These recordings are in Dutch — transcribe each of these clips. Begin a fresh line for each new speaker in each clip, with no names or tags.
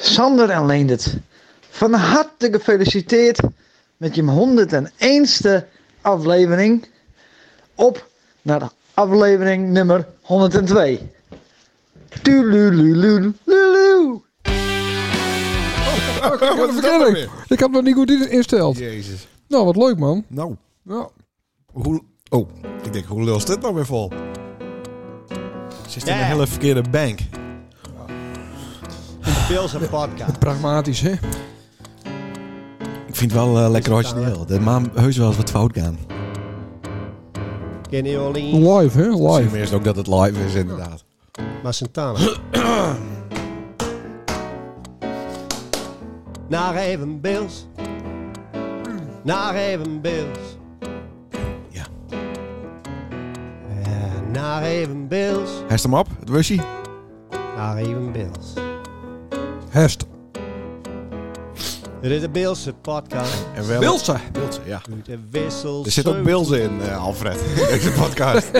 Sander en Leendert, van harte gefeliciteerd met je 101ste aflevering. Op naar aflevering nummer 102. Tulululululu.
Oh,
Wat
dat
is
vertel
dat
ik.
nou
Ik heb nog niet goed in- insteld.
Jezus.
Nou, wat leuk man.
Nou,
Ja.
hoe... Oh, ik denk, hoe lul is dit nou weer vol? Ze is in
Ja.
een hele verkeerde bank.
Pils en podcast.
Pragmatisch hè.
Ik vind het wel eh, lekker origineel. De maan heus wel eens wat fout gaan.
Kenny Olin.
Live hè,
Zie
live.
me eerst ook dat het live is, inderdaad.
Maar Santana. Naar even Bills. Naar even Bills.
Ja.
Ja, Eh, Naar even Bills.
Hij is hem op, het wussie.
Naar even Bills.
Hest.
Dit is de Bilse podcast.
En wel...
Wilse.
Bilze, ja.
Doet de wissel.
Er zit ook Bilze in, eh, Alfred. in deze podcast.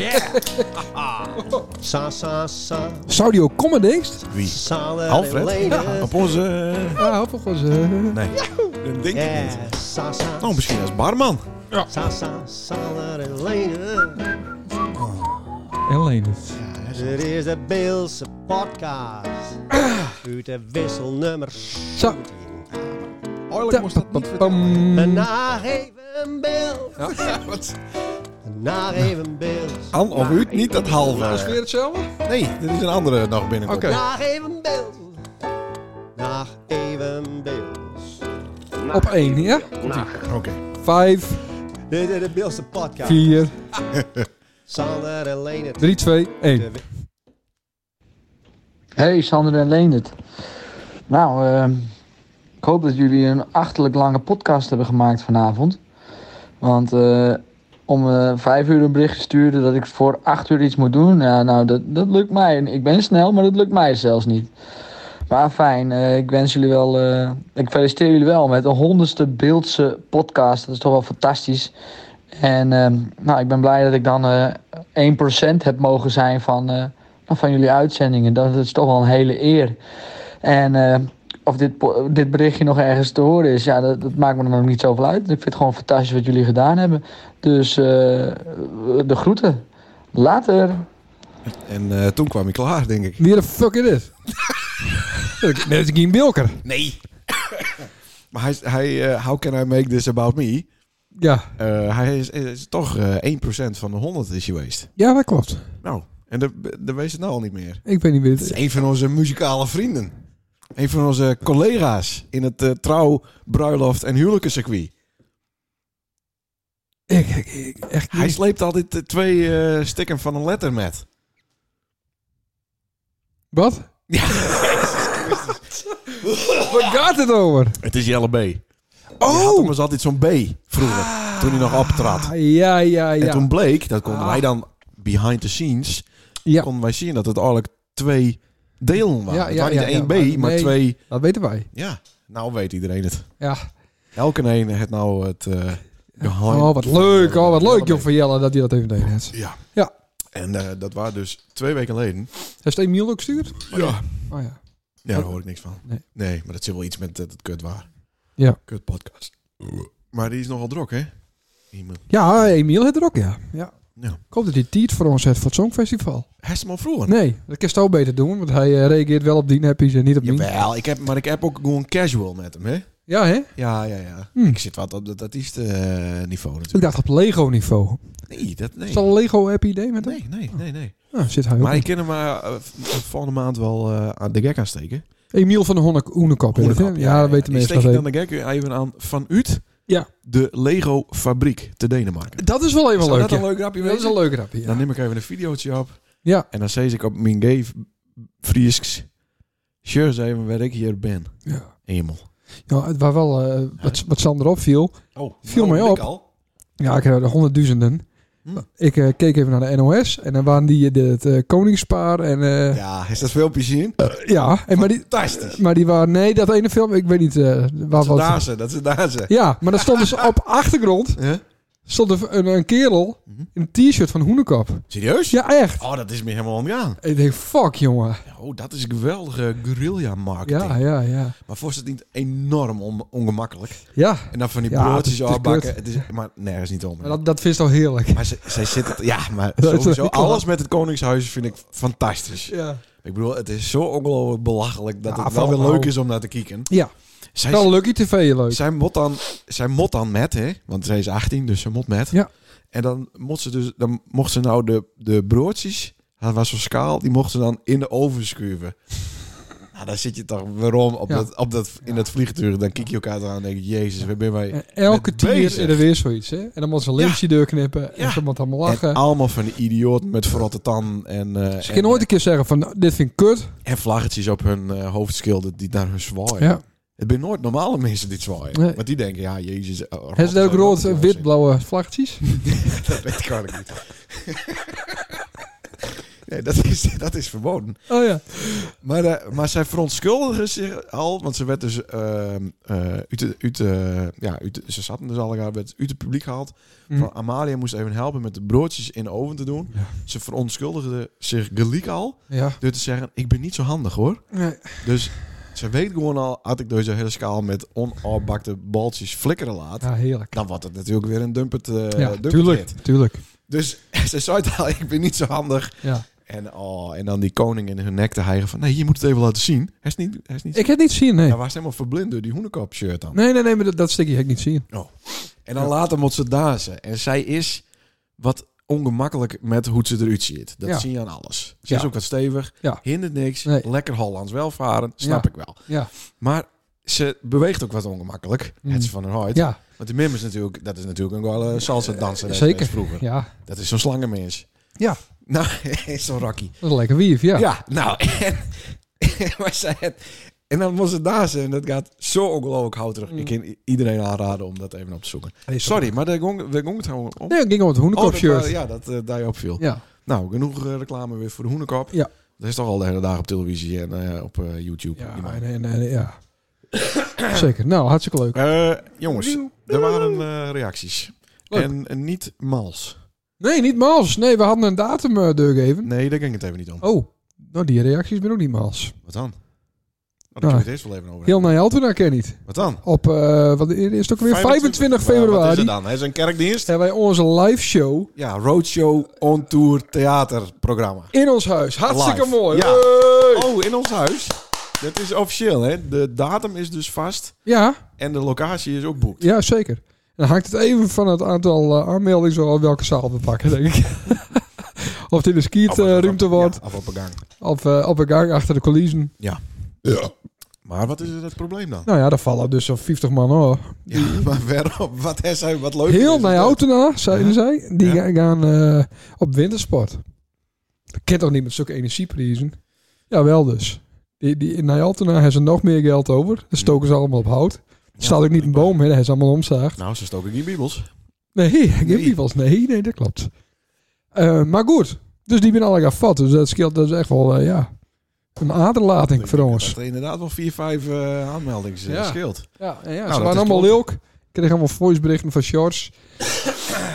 Sa, sa, sa.
Zou die ook komen denkst?
Wie?
Sander
Alfred?
Leendert.
Ja, op onze... eh,
Ja, hoop ik wel eens.
Nee. Dat denk ik niet.
Ja, sa, sa.
Nou, misschien als barman.
Sa, sa, Sander en Leendert.
En Leendert.
Dit is de Beelse podcast. Uit de wisselnummer 17.
Zo.
Oorlijk moest dat niet vertellen.
En naar even Beels.
Ja, wat?
Naar even Beels.
An of uit, niet dat halve.
hetzelfde?
Nee, dit is een andere nog binnenkomt.
Oké.
Naar even Beels. Naar even Beels.
Op één, ja?
Oké.
Vijf,
Dit is de Beelse podcast.
vier,
Sander en Leendert.
drie, twee,
De
één.
wi-
Hey Sander en Leendert. Nou, ehm, ik hoop dat jullie een achterlijk lange podcast hebben gemaakt vanavond. Want eh, om eh, vijf uur een bericht stuurde dat ik voor acht uur iets moet doen. Ja, nou, dat, dat lukt mij. Ik ben snel, maar dat lukt mij zelfs niet. Maar fijn, eh, ik wens jullie wel. eh, ik feliciteer jullie wel met de honderdste Beeldse podcast. Dat is toch wel fantastisch. En ehm, nou, ik ben blij dat ik dan eh 1% heb mogen zijn van. eh, nou, van jullie uitzendingen. Dat is toch wel een hele eer. En eh, of dit, po- dit berichtje nog ergens te horen is, ja, dat, dat maakt me dan ook niet zoveel uit. Ik vind het gewoon fantastisch wat jullie gedaan hebben. Dus eh, de groeten. Later.
En eh, toen kwam hij klaar, denk ik.
Wie de fuck is dit? Net als Guy Bilker.
Nee. maar hij, hij eh, how can I make this about me?
Ja.
Eh, hij is, is toch eh 1% van de 100 is geweest.
ja, dat klopt.
Nou, en dat dat wees het nou al niet meer.
Ik weet niet wie het
Het
is.
is een van onze muzikale vrienden. Een van onze collega's in het eh, trouw, bruiloft en huwelijkencircuit.
Ik, ik, ik- echt
Hij
niet.
sleept altijd eh, twee eh, stikken van een letter met.
Wat? Waar gaat het over?
Het is Jelle B. Die had hem
Oh!
eens altijd zo'n B vroeger, toen hij nog optrad.
Ah, Ja, ja,
En toen
ja.
bleek, dat konden
Ah.
wij dan behind the scenes,
Ja.
konden wij zien dat het eigenlijk twee delen waren.
Ja,
het
ja,
waren niet
ja,
één
ja,
B,
maar
maar
nee.
twee...
Dat weten wij.
Ja, nou weet iedereen het.
Ja.
Elke een heeft nou het... eh, behind
Oh, wat leuk. Oh, wat leuk, joh, van Jelle, dat hij dat even deed. net.
Ja.
Ja.
En eh, dat waren dus twee weken geleden.
Heeft hij Emiel ook gestuurd?
Ja.
Oh ja.
Ja, daar hoor ik niks van.
Nee.
Nee, maar dat zit wel iets met dat het kut waar.
Ja.
Kut podcast. Maar die is nogal druk, hè? Iemand.
Ja, Emiel heeft er ook, ja. ja.
Ja.
Ik hoop dat hij tiert voor ons heeft voor het Songfestival.
Hij is hem al vroeger.
Nee, dat kan je ook beter doen, want hij eh, reageert wel op die neppies en niet op die.
Jawel, ik heb, maar ik heb ook gewoon casual met hem, hè?
Ja, hè?
Ja, ja, ja.
Hm.
Ik zit wat op dat artiestenniveau
Dus Ik
natuurlijk.
dacht op Lego-niveau.
Nee, dat... Nee.
Is dat een Lego-app idee met hem?
Nee, nee, nee, nee.
Ah, zit hij ook.
Maar ik
in.
ken hem maar eh, v- volgende maand wel eh, aan de gek aansteken.
Emiel van de Honnek- Hoenekop. is het, hè?
Hoenekop,
ja, dat weten
Die
mensen
steek
wel
ik
even.
dan de gek even aan vanuit
Ja.
de Lego fabriek te Denemarken.
Dat is wel even
Zou
leuk.
dat
ja.
een leuk grapje
Dat is
wezen?
een leuk grapje.
Dan
Ja.
neem ik even een videootje op.
Ja.
En dan zeg ik op mijn gay Friesks. Sure, even waar ik hier ben.
Ja.
Emel.
Ja, het was wel eh, wat, wat Sander opviel.
Oh,
Viel mij op. Ja, ik heb er honderdduizenden.
Hm.
Ik eh, keek even naar de NOS en dan waren die eh, de- het eh, koningspaar en eh, ja,
Ja, is dat veel plezier?
en, maar die
Fantastisch.
maar die waren nee dat ene film ik weet niet eh, waar
Dat is
wat
daar ze, dat is daar ze.
ja, maar dat stond dus op achtergrond
Huh?
stond er een, een kerel
Mhm.
in een t-shirt van Hoenekap.
Serieus?
Ja, echt.
Oh, dat is me helemaal ontgaan.
Ik denk, fuck jongen.
Oh, dat is een geweldige guerrilla-marketing.
Ja, ja, ja.
Maar voor is het niet enorm on- ongemakkelijk?
Ja,
En dan van die
Ja, het is-
broodjes
het is
afbakken.
kut.
Het is maar nergens niet om.
maar dat, dat vindt al heerlijk.
Maar ze, zij zit het... Ja, maar
Dat is
sowieso
wel-
alles met het Koningshuis vind ik fantastisch.
Ja.
Ik bedoel, het is zo ongelooflijk belachelijk dat
Ja,
het wel weer
vooral-
leuk is om naar te kijken.
Ja,
Zij,
wel Lucky TV leuk.
zij, mot dan, zij mot dan met, hè? Want zij is 18, dus ze mot met.
Ja.
En dan, mot ze dus, dan mocht ze nou de, de broodjes, dat was zo'n schaal, die mochten ze dan in de oven schuiven. Nou, dan zit je toch waarom op
Ja.
dat, op dat, in dat vliegtuig. Dan kijk je elkaar aan en denk je, jezus, waar ben wij...
En elke
Met
tien is
bezig.
er weer zoiets. Hè? En dan moet ze een
Ja.
lintje deur knippen.
Ja.
En ze moet allemaal
En
lachen. Dus
allemaal van die idioten met verrotte tan en, eh,
ze
en, eh,
kunnen nooit een keer zeggen van, nou, dit vind ik kut.
en vlaggetjes op hun eh, hoofd schilderen die naar hun zwaaien.
Ja.
Het zijn nooit normale mensen die zwaaien.
Nee.
Want die denken, ja, jezus. eh,
Het is
rot-
ook rood,
rot-
wit, blauwe vlaggetjes.
Dat weet ik eigenlijk niet. Nee, dat is, dat is verboden.
Oh ja.
Maar, eh, maar zij verontschuldigen zich al, want ze werd dus ehm, eh, uit, de- uit, de- ja, uit, de- ze zaten dus al elkaar, werd uit het publiek gehaald.
Mm.
Van Amalia moest even helpen met de broodjes in de oven te doen.
Ja.
Ze verontschuldigde zich geliek al
Ja.
door te zeggen, ik ben niet zo handig hoor.
Nee.
Dus ze weet gewoon al, had ik deze hele schaal met onafbakte baltjes flikkeren laat,
Ja, heerlijk.
dan wordt het natuurlijk weer een dumpert. eh
ja,
dumpert
tuurlijk.
hit.
Tuurlijk.
Dus ze zei het al, ik ben niet zo handig.
Ja.
En, oh, en dan die koning in hun nek te hijgen van... Nee, je moet het even laten zien. Hij is niet... Hij is niet
Ik heb niet zien, nee.
Hij was helemaal verblind door die hoenekop shirt dan.
Nee, nee, nee, maar dat, dat stukje heb ik niet zien.
En dan later moet ze dansen. En zij is wat ongemakkelijk met hoe ze eruit ziet. Dat
Ja.
zie je aan alles. Ze
Ja.
is ook wat stevig.
Ja.
Hindert niks.
Nee.
Lekker Hollands welvaren. Snap
Ja.
ik wel.
Ja.
Maar ze beweegt ook wat ongemakkelijk.
Mm.
Het is van haar huid.
Ja,
Want die mim is natuurlijk... Dat is natuurlijk ook wel een salsa danser.
zeker.
Vroeger.
ja.
Dat is zo'n slangenmens.
Ja.
Nou, zo'n Rocky.
Dat is een lekker wief, ja.
Ja, nou, en, maar zij het, en dan moest het daar zijn. En dat gaat zo ongelooflijk houterig.
Mm.
Ik kan i- iedereen aanraden om dat even op te zoeken.
Nee,
Sorry, maar daar gong, daar gong het gewoon om.
Nee, ik ging om het
Oh,
hoenekop
dat,
shirt.
eh, ja, dat eh, daar je op viel.
ja.
Nou, genoeg eh, reclame weer voor de hoenekop.
Ja.
Dat is toch al de hele dag op televisie en eh, op eh, YouTube.
Ja,
Die man.
en, en, en- ja. Zeker. Nou, hartstikke leuk.
Eh, jongens, er waren eh, reacties.
Leuk.
En, en niet mals.
Nee, niet Maals. Nee, we hadden een datum eh doorgegeven.
Nee, daar ging het even niet om.
Oh, nou die reacties ben ook niet Maals.
Wat dan? Oh, daar
Nou,
kunnen we het eerst wel even over
Heel
hebben.
Nijaltena ken niet.
Wat dan?
Op, eh wat is het ook weer? 25
Maar Wat is het
februari
dan? Hij is een kerkdienst.
hebben wij onze live show
Ja, roadshow, on tour, theaterprogramma.
in ons huis. Hartstikke
Live.
mooi. Eh,
Ja.
Hey!
Oh, in ons huis. Dat is officieel, hè? De datum is dus vast
Ja,
en de locatie is ook boekt.
ja, zeker. En dan hangt het even van het aantal eh, aanmeldingen zo welke zaal we pakken, denk ik. of dit een skierruimte wordt,
Oh, Ja, af op een gang.
of eh, op een gang achter de coulissen.
Ja. Maar wat is het, het probleem dan?
Nou ja, daar vallen dus zo'n 50 man hoor.
Ja, maar waarom? Wat is hij? Wat leuk
Heel
is het?
Nijoutena, zeiden
Ja.
zij. Die
Ja.
ga- gaan eh, op wintersport. Dat kent toch niet met zulke energieprijzen? Jawel dus. Die, die, in Nijoutena hebben ze nog meer geld over. Dan stoken ze allemaal op hout. Er staat ook niet een boom, hè. Dat hebben ze allemaal omzaagd.
Nou, ze stoken geen bibels.
Nee, geen
Nee.
piepels. Nee, nee, dat klopt. Eh, maar goed. Dus die ben allemaal vat. Dus dat scheelt dat is echt wel, eh, ja... Een aderlating voor ons.
Dat er inderdaad wel vier, vijf eh aanmeldingen eh,
Ja.
scheelt.
Ja, en ja
dat
ze
is
waren allemaal
klopt.
leuk. Ik kreeg allemaal voiceberichten van Shorts.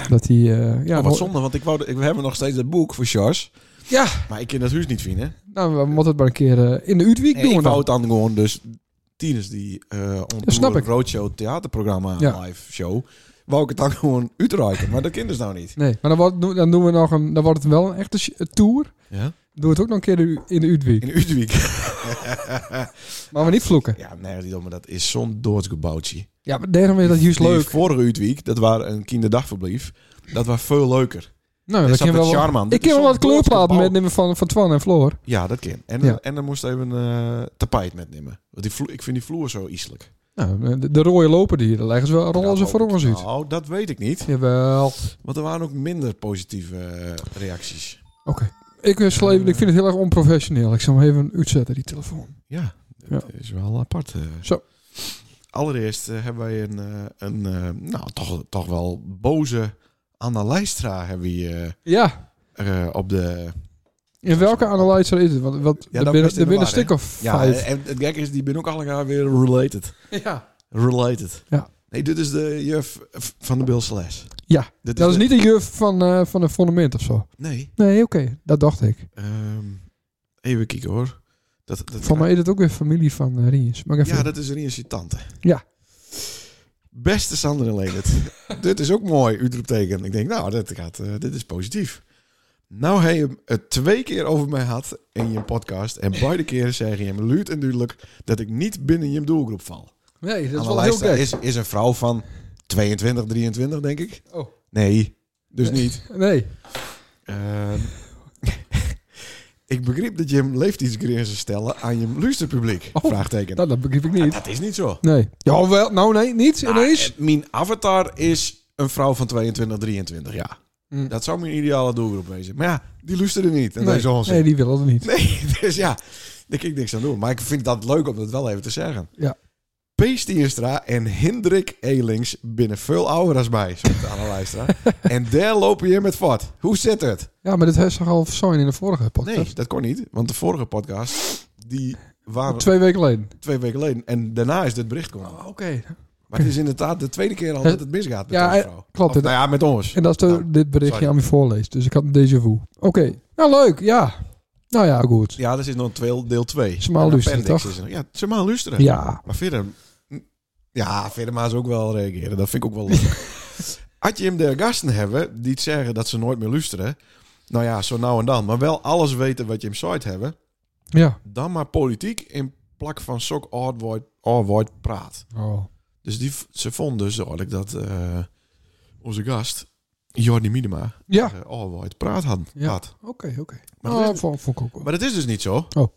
dat die... eh, ja,
Oh, wat zonde, want ik wou, ik- we hebben nog steeds dat boek voor Charles.
Ja.
Maar ik kan dat huis niet vinden.
Nou, we moeten het maar een keer eh, in de Uitweek
Nee,
doen.
ik
we
wou
dan.
het dan gewoon dus tieners die eh
snap
onder
ik.
roadshow theaterprogramma
Ja.
live show wou ik het dan gewoon uitreiken, maar dat kind is nou niet.
Nee, maar dan, wordt, dan doen we nog een. Dan wordt het wel een echte sh- eh, tour.
Ja?
Doen we het ook nog een keer de- in de Uitweek.
In Utrecht.
Maar we niet vloeken.
ja, nee, niet om, maar dat is zo'n doodsgebouwtje.
Ja, maar daarom is dat juist
Die
leuk.
vorige Utrecht, dat was een kinderdagverblijf, dat was veel leuker.
Nou,
dat
we
is
kunnen
wel
wel.
charmant. Dit
Ik ken
is
wel
zo'n
wat kleurplaten
doodsgebouw-
metnemen van, van Twan en Floor.
Ja, dat kan. En,
Ja.
en dan moest even een tapijt metnemen. Want die vloer, ik vind die vloer zo iselijk.
Nou, de, de rode lopen die hier, daar leggen ze wel roze
Dat
voor
hoop
ons
ik.
uit.
Nou, dat weet ik niet.
Jawel. Oké.
Want er waren ook minder positieve eh, reacties.
Ik, eh, sla even- ik vind het heel erg onprofessioneel. Ik zal hem even uitzetten, die telefoon.
Ja, dat is wel apart. eh.
Zo.
Allereerst eh, hebben wij een, eh, een eh, nou, toch, toch wel boze Anna Leistra hebben we hier,
Ja.
eh, eh, op de...
In welke analyzer is het? Want wat,
Ja,
er
dat
binnen,
wist ik
er binnen een
nog
stuk
maar,
of
Ja,
vijf.
en het gek is, die ben ook allemaal weer related.
Ja.
Related.
Ja.
Nee, dit is de juf van de Bilse les.
Ja,
dat
Dat is
de-
niet de juf van, eh, van een fondament of zo.
Nee.
Nee, oké. Dat dacht ik.
Ehm, even kijken hoor. Dat, dat,
Voor mij is het ook weer familie van eh, Riens. Maar ik even...
Ja, dat is een Riense tante.
Ja.
Beste Sander en Leendert. dit is ook mooi, uitroepteken. Ik denk, nou, dit, gaat, eh, dit is positief. Nou, hij hem het twee keer over mij had in je podcast. En beide keren zei hij hem luid en duidelijk dat ik niet binnen je doelgroep val.
Nee, dat is
Aan de
wel heel
lijst
gek.
is, is een vrouw van 22, 23, denk ik.
Oh.
Nee, dus niet.
Nee.
Ehm, ik begreep dat je hem leeftijdsgrenzen stellen aan je luisterpubliek.
Oh,
vraagteken.
Dat, dat begreep ik niet.
dat is niet zo.
Nee. Ja, wel. Nou, nee. Niet ineens.
Ah, eh, mijn avatar is een vrouw van 22, 23 jaar.
Mm.
Dat zou mijn ideale doelgroep wezen. Maar ja, die luisterde niet. En
nee.
deze onzin.
nee, die willen het niet.
Nee, dus ja, daar kan ik niks aan doen. Maar ik vind dat leuk om dat wel even te zeggen.
Ja.
Pees Tienstra en Hendrik Elings binnen veel ouder als mij, zegt Anna Lijstra. en daar lopen je met voort. Hoe zit het?
Ja, maar dit heeft ze al zo in de vorige podcast.
Nee, dat kon niet. Want de vorige podcast, die waren twee,
Twee weken geleden.
weken geleden. En daarna is dit bericht gekomen.
Oké.
Maar het is inderdaad de tweede keer al dat het misgaat met
Oh, Ja,
onze
eh,
vrouw.
klopt.
Of, nou ja, met ons.
En dat is de-
Nou,
dit berichtje
sorry.
aan me voorleest. Dus ik had een déjà vu. Oké. Nou, leuk. Ja. Nou ja, goed.
Ja, dat is nog twee- deel 2.
Smaal luisteren, toch?
Ja, ze maar luisteren.
Ja.
Maar verder... mm, Ja, verder maar ze ook wel reageren. Dat vind ik ook wel leuk. Had je hem de gasten hebben die het zeggen dat ze nooit meer luisteren... Nou ja, zo nou en dan. Maar wel alles weten wat je hem zoiets hebben.
Ja.
Dan maar politiek in plak van sok oud woord praat.
Oh.
Dus die, v- ze vonden dus eigenlijk dat eh, onze gast... Jordi Miedema
Ja.
eh, oorwoord praat had.
Ah. Ja.
had.
Oké, oké. Nou,
Maar
Maar
dat is-
vond, vond ik ook wel.
Maar dat is dus niet zo.
Oh.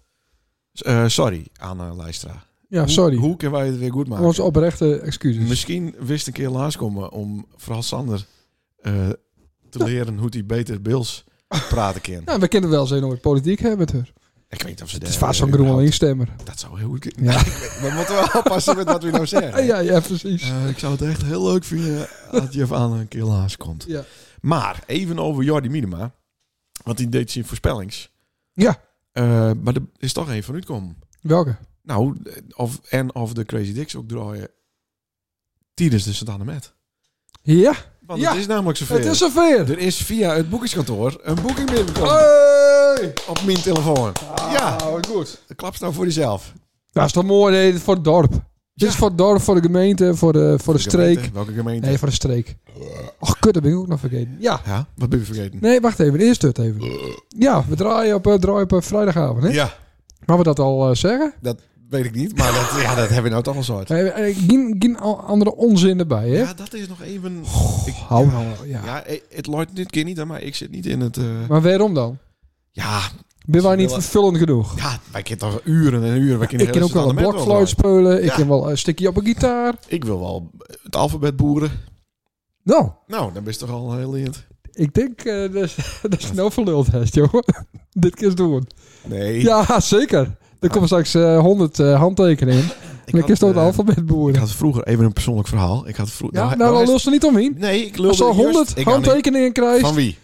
S- eh, sorry aan eh, Lijstra.
Ja,
Hoe-
sorry.
Hoe, kunnen wij het weer goed maken?
Onze oprechte excuses.
Misschien wist een keer langskomen om vooral Sander eh, te leren hoe hij beter Bills praten kan.
Ja, Nou, we kennen wel zijn over politiek hebben met haar.
Ik weet niet of ze
Het
daar-
is vaak zo'n
überhaupt-
groene stemmer.
Dat zou heel goed kunnen.
Ja.
We moeten wel oppassen met wat we nou
Ja,
zeggen.
ja, ja, precies.
Eh, ik zou het echt heel leuk vinden dat je van een keer langskomt.
Ja.
Maar even over Jordi Minima. Want die deed zijn voorspellings.
Ja.
Eh, maar er is toch één van uitkomen.
Welke?
Nou, of, en of de Crazy Dicks ook draaien. Tijdens de Santana Met.
Ja,
Want
Ja,
het is namelijk zover.
het is zover.
Er is via het boekingskantoor een boeking binnengekomen
Hey!
op mijn telefoon. Ja.
goed.
Klap nou voor jezelf.
Dat is toch mooi, nee, dit is voor het dorp. Dit is voor het dorp, voor de gemeente, voor de, voor de streek.
Welke gemeente?
Nee, voor de streek. Och, kut, dat ben ik ook nog vergeten. Ja.
Ja, wat ben je vergeten?
Nee, wacht even. Eerst het even. Ja, we draaien op, eh, draaien op eh, vrijdagavond, hè?
Ja,
Mag we dat al eh, zeggen?
dat weet ik niet, maar dat, ja, dat hebben we nou toch al zo uit.
Eh, eh, Geen, geen al- andere onzin erbij, hè?
Ja, dat is nog even... ik,
Hou nou, ja.
Ja, eh, het loopt dit keer niet aan mij. Ik zit niet in het... eh,
Maar waarom dan?
Ja,
Ben wij
Ze
niet
willen-
vervullend genoeg?
ja, wij kunnen toch uren en uren... wij kunnen
Ik
de
kan
hele
ook wel een
Santana Met
blokfluit
draaien.
spelen. Ik
Ja.
kan wel een stukje op een gitaar.
Ik wil wel het alfabet boeren.
Nou,
Nou, dan ben je toch al heel in het-
ik denk eh, dat is- dat is nou verluld heeft, jongen. Dit keer doen.
Nee.
Ja, zeker. Er komen straks eh, 100 eh, handtekeningen. En ik
had,
is toch het
eh,
alfabet
Ik
boeren.
had vroeger even een persoonlijk verhaal. Ik had vroeger...
Ja, nou, dan
is-
lust er niet omheen.
Nee, ik
Als
lulde
je al
juist-
100
ik kan niet.
handtekeningen krijgt
Van wie?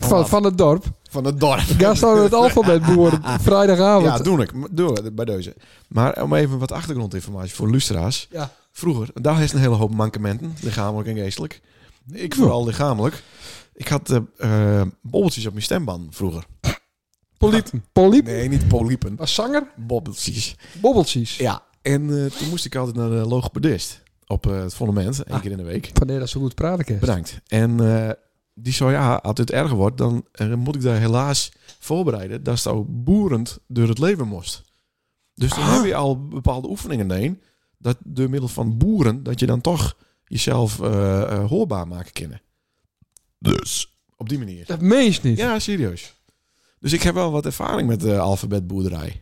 van, van het dorp,
Van het dorp.
ga staan het alfabet boeren
Ja,
vrijdagavond.
doe ik. M- Doe het bij deze. Maar om even wat achtergrondinformatie voor lustra's.
Ja.
Vroeger, daar is een hele hoop mankementen, lichamelijk en geestelijk. Ik vooral lichamelijk. Ik had eh, eh, bobbeltjes op mijn stemband vroeger.
Poliep. Poliep.
Ah, Nee, niet poliepen.
Was zanger?
Bobbeltjes.
Bobbeltjes.
Ja. En eh, toen moest ik altijd naar de logopedist op eh, het fundament,
Ah.
één keer in de week.
Vandaar dat ze goed praten kan.
Bedankt. En eh, die zei, ja, als het erger wordt, dan eh, moet ik daar helaas voorbereiden. Dat zou boerend door het leven moest. Dus dan heb je
Ah.
al bepaalde oefeningen heen. Dat door middel van boeren, dat je dan toch jezelf eh, eh, hoorbaar maken kennen. Dus, op die manier.
Dat meest niet.
Ja, serieus. Dus ik heb wel wat ervaring met de alfabetboerderij.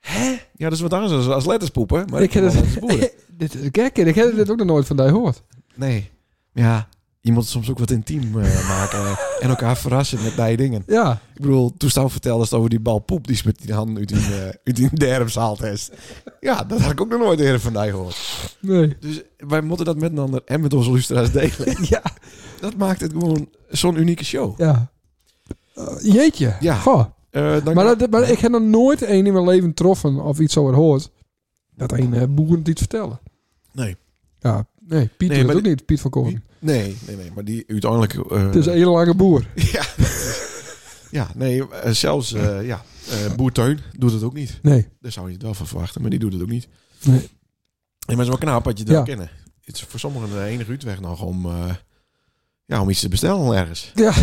Hè? Ja, dat is wat anders als, als letterspoepen. Maar ik,
Ik
heb
heb
wel
het-
letters boeren.
dit is gek. en Ik heb dit ook nog nooit van jou gehoord.
Nee. Ja, je moet het soms ook wat intiem eh, maken. en elkaar verrassen met die dingen.
Ja.
Ik bedoel, toestel vertelde ze over die bal poep die ze met die hand uit die, eh uit die derms haalt. is. Ja, dat had ik ook nog nooit eerder van die gehoord.
Nee.
Dus wij moeten dat met een ander en met onze luisteraars delen.
Ja.
Dat maakt het gewoon zo'n unieke show.
Ja. Eh, jeetje.
Ja.
Goh.
Eh, dank-
Maar, dat, maar ik heb nog nooit één in mijn leven troffen of iets zo hoort. Dat een eh boer het iets vertellen.
Nee.
Ja. Nee, Piet
Nee,
doet
maar
het ook niet. Piet van Koren.
Wie- Nee, nee, nee. Maar die uiteindelijk... eh,
Oh. Het is een hele lange boer.
ja. ja, nee. eh, zelfs eh, ja, eh, Boer Teun doet het ook niet.
Nee.
Daar zou je het wel van verwachten, maar die doet het ook niet.
Nee.
Nee, maar het is wel knap dat je dat
Ja.
kennen. Het is voor sommigen de enige uitweg nog om, eh, ja, om iets te bestellen ergens.
Ja.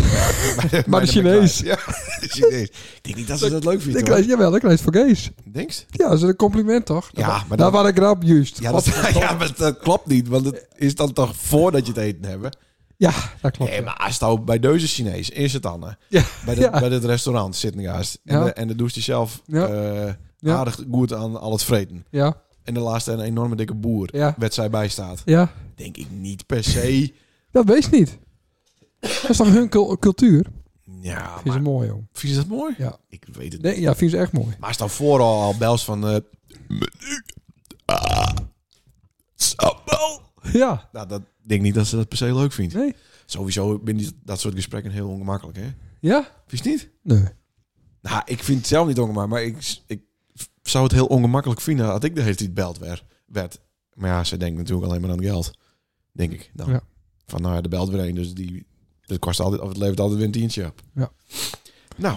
Bij bij
Maar de Chinees.
Ja, de Chinees. Ik denk niet dat ze dat leuk vinden.
Ik
hoor.
lees, jawel, ik lees voor Gees.
Denk je?
Ja, dat is een compliment toch? Nou,
Ja, maar
dat
dan-
was een grap, juist.
Ja, dat, ja, maar dat klopt niet, want het is dan toch voordat je het eten hebt.
Ja, dat klopt.
Nee,
ja.
maar als het nou bij deze Chinees is het dan. hè.
Ja,
Bij, de,
ja.
bij het restaurant zit een gast. En,
Ja.
de- en dan doet hij zelf
Ja.
eh,
Ja.
aardig goed aan al het vreten.
ja,
En de laatste een enorme dikke boer
ja,
werd zij bijstaat.
ja.
Denk ik niet per se.
Dat wees niet. Dat is toch hun cul- cultuur?
Ja,
Vind
maar
ze mooi, joh.
vind je dat mooi?
Ja.
Ik weet het
Nee,
niet.
ja, vind ze echt mooi.
Maar als dan vooral al bels van... eh, ah, sambal.
Ja.
nou, dat ik denk niet dat ze dat per se leuk vindt.
Nee.
Sowieso ben ik dat soort gesprekken heel ongemakkelijk, hè?
Ja?
Vind je het niet?
Nee.
Nou, ik vind het zelf niet ongemakkelijk, maar ik, ik zou het heel ongemakkelijk vinden als ik de hele tijd beld werd. werd. Maar ja, ze denkt natuurlijk alleen maar aan geld. Denk ik dan.
Ja.
Van nou ja, de belt weer een, dus die, dat kost altijd, of het levert altijd weer een tientje op.
Ja.
Nou,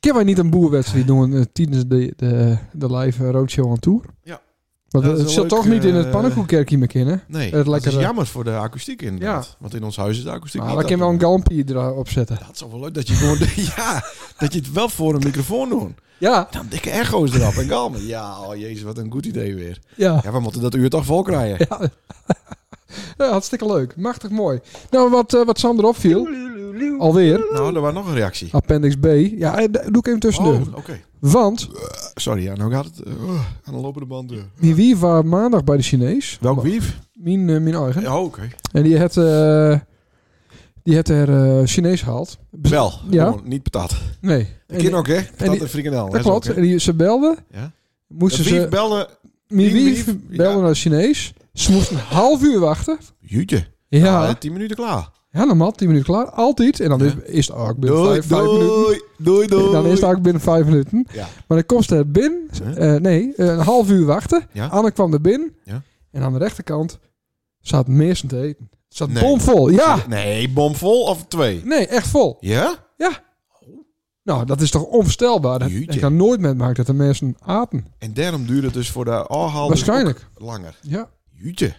Kunnen wij niet een boerwedstrijd doen eh, tijdens de, de, de live eh, Roadshow aan Tour?
Ja.
Want
Dat
het
is een
zit
leuk,
toch niet in het
eh,
pannenkoekkerkje meer kennen?
nee,
Het
dat is
lekkere-
jammer voor de akoestiek inderdaad. Want in ons huis is de akoestiek
Maar we
niet
kunnen wel
dat-
een galmpie erop zetten.
Dat is wel leuk dat je gewoon, ja, dat je het wel voor een microfoon doet.
Ja,
Dan dikke echo's erop en kalmen. Ja, oh jezus, wat een goed idee weer.
ja.
Ja, we moeten dat uur toch vol krijgen.
ja. Ja, hartstikke leuk. Machtig mooi. Nou, wat, eh, wat Sander opviel, alweer,
Nou, er was nog een reactie.
appendix B. Ja, eh, doe ik even tussendoor.
Oh, oké.
Want,
Sorry, ja, nou gaat het eh, oh, aan de lopende band. eh.
die wie was maandag bij de Chinees.
Welk wief?
Mijn, eh, mijn eigen.
Ja, oh, oké.
En die had, eh, die had er eh, Chinees gehaald.
Bel.
Ja.
Gewoon, Niet patat.
Nee.
De
En
kind
die-
ook, hè? Patat en,
die-
frikandel.
dat
is ook,
klopt.
hè?
En die, ze belden.
Ja.
Moesten
De wief
ze...
belde...
Mijn
die
wief
wief,
belde
ja.
naar de Chinees. Ze moesten een half uur wachten.
Jutje.
Ja.
Ah, tien minuten klaar.
Ja, normaal 10 minuten klaar. Altijd. En dan
Ja.
is, is het ook binnen
Doei,
5 minuten.
doei. Doei, doei.
Dan is het ook binnen 5 minuten.
Ja.
Maar dan komt ze er binnen.
Huh?
eh, nee, eh, een half uur wachten.
Ja.
Anne kwam er binnen.
Ja.
En aan de rechterkant zat mensen te eten. Het zat
Nee.
bomvol. Ja.
Nee, bomvol of twee?
Nee, echt vol.
Ja?
Nou, dat is toch onvoorstelbaar. Dat,
Jeetje.
ik had nooit met maken dat de mensen aten.
En daarom duurde het dus voor de alhaal
Waarschijnlijk.
langer.
Ja.
Jutje.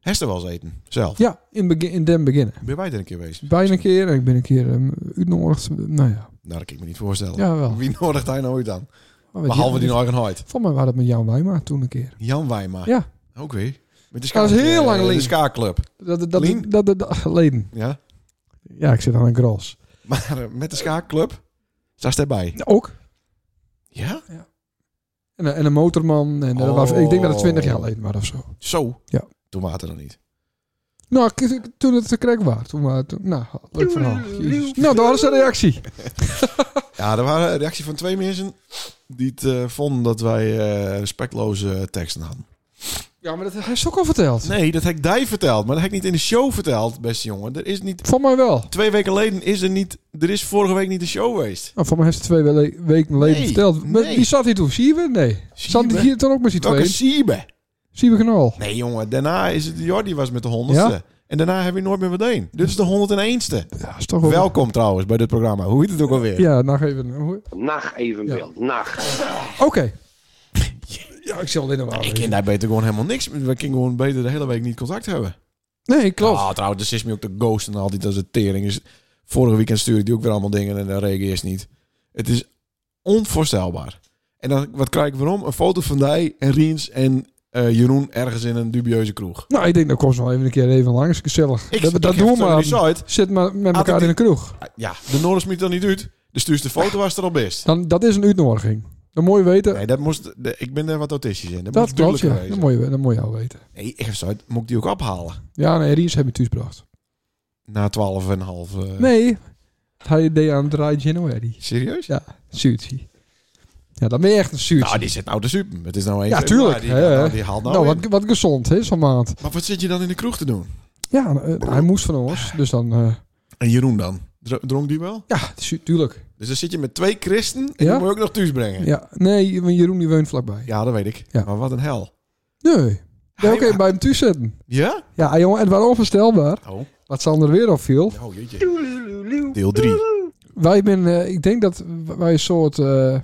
Hester wel eens eten. Zelf.
Ja, in, begin, in den beginnen.
Ben wij er een keer geweest?
Bijna een keer. En ik ben een keer um, uitnodigd. Nou ja.
Nou, dat kan ik me niet voorstellen.
Ja, wel.
Wie nodigt hij nou uit dan?
Maar weet
Behalve
je-
die Norgenhoid.
Volgens mij was dat met Jan Wijma toen een keer.
Jan Wijma.
Ja.
Oké. Met de
Ja, dat is heel
eh,
lang
De
geleden.
ska-club.
Dat, dat, dat,
Lien?
dat, dat- dat- leden.
Ja.
Ja, ik zit aan een gras.
Maar eh, met de ska-club zat ze erbij.
Ook.
Ja?
En, een- en een motorman. En, eh,
Oh.
was, ik denk dat het 20 jaar geleden was of zo.
Zo.
Ja.
Toen waren het er nog niet.
Nou, ik- ik- toen het te krek was. Toen, maar, toen, nou, leuk verhaal. Jezus. Nou, dat was een reactie.
Ja, er waren een reactie van twee mensen die het eh, vonden dat wij eh, respectloze teksten hadden.
Ja, maar dat hij is ook al verteld.
Nee, dat heb ik die verteld. Maar dat heb ik niet in de show verteld, beste jongen. Er is niet...
Van mij wel.
Twee weken geleden is er niet... Er is vorige week niet de show geweest.
Nou, van mij heeft ze twee wele- weken geleden
Nee,
verteld. Maar
nee.
Wie zat hier toen? Siebe? Nee. Zat die
Siebe?
hier dan ook met z'n
Welke
tweeën?
siebe?
Siebe Knol.
Nee, jongen. Daarna is het... Jordi was met de honderdste. En daarna heb je nooit meer wat een. Dit is de 101ste.
Ja, is toch wel...
Welkom trouwens bij dit programma. Hoe heet het ook alweer?
Ja, nog even. eh, hoe-
Nacht even
Ja.
beeld. Nacht.
Oké. Ja, ik zal in de war
Ik kan daar beter gewoon helemaal niks. We kunnen gewoon beter de hele week niet contact hebben.
Nee, klopt.
Ah, trouwens, dat is me ook de ghost en altijd als het tering is. Vorige weekend stuurde ik die ook weer allemaal dingen en dan reageert ze niet. Het is onvoorstelbaar. En dan, wat krijg ik waarom? Een foto van Dij en Riens en eh, Jeroen ergens in een dubieuze kroeg.
Nou, ik denk dat komt ze wel even een keer even langs. Gezellig.
Ik,
dat
ik
dat
heb
doen we
het
maar.
op die site.
Zit maar met
Had
elkaar
het
in de kroeg.
Ja, de Noorders niet dan niet uit. Dus stuurt de foto was er al best.
Dan, dat is een uitnodiging. Dan moet je weten.
Nee, dat moest, de- ik ben er wat autistisch in. Dat,
dat
moest
klopt,
duidelijker
ja.
wezen.
Dat moet, je, dat moet je al weten.
Nee, ik heb zoiets, moet ik die ook ophalen?
Ja, nee, Ries heb je thuisgebracht.
Na twaalf en een half. eh,
Nee. Hij deed aan 3 januari.
Serieus?
Suitie. Ja, dan ben je echt een suitie.
Nou, die zit nou te super. Het is nou één.
Ja,
februari.
tuurlijk,
Die,
hè.
nou, die haalt nou,
nou,
in.
wat, wat gezond, hè, zo'n maand.
Maar wat zit je dan in de kroeg te doen?
Ja, eh, hij moest van ons. Dus dan... eh,
En Jeroen dan? Dr- Dronk die wel?
ja, su- tuurlijk.
Dus dan zit je met twee christen en
Ja?
die moet je ook nog thuis brengen. Ja,
Ja. Nee, want Jeroen die woont vlakbij.
dat weet ik.
Ja.
Maar wat een hel.
Nee. Ja,
Hij-
oké, bij hem thuis zitten.
Ja?
Ja, jongen, het was onvoorstelbaar.
Oh,
Wat Sander weer opviel.
oh jeetje. Deel 3.
Wij ben, eh, ik denk dat wij een soort eh,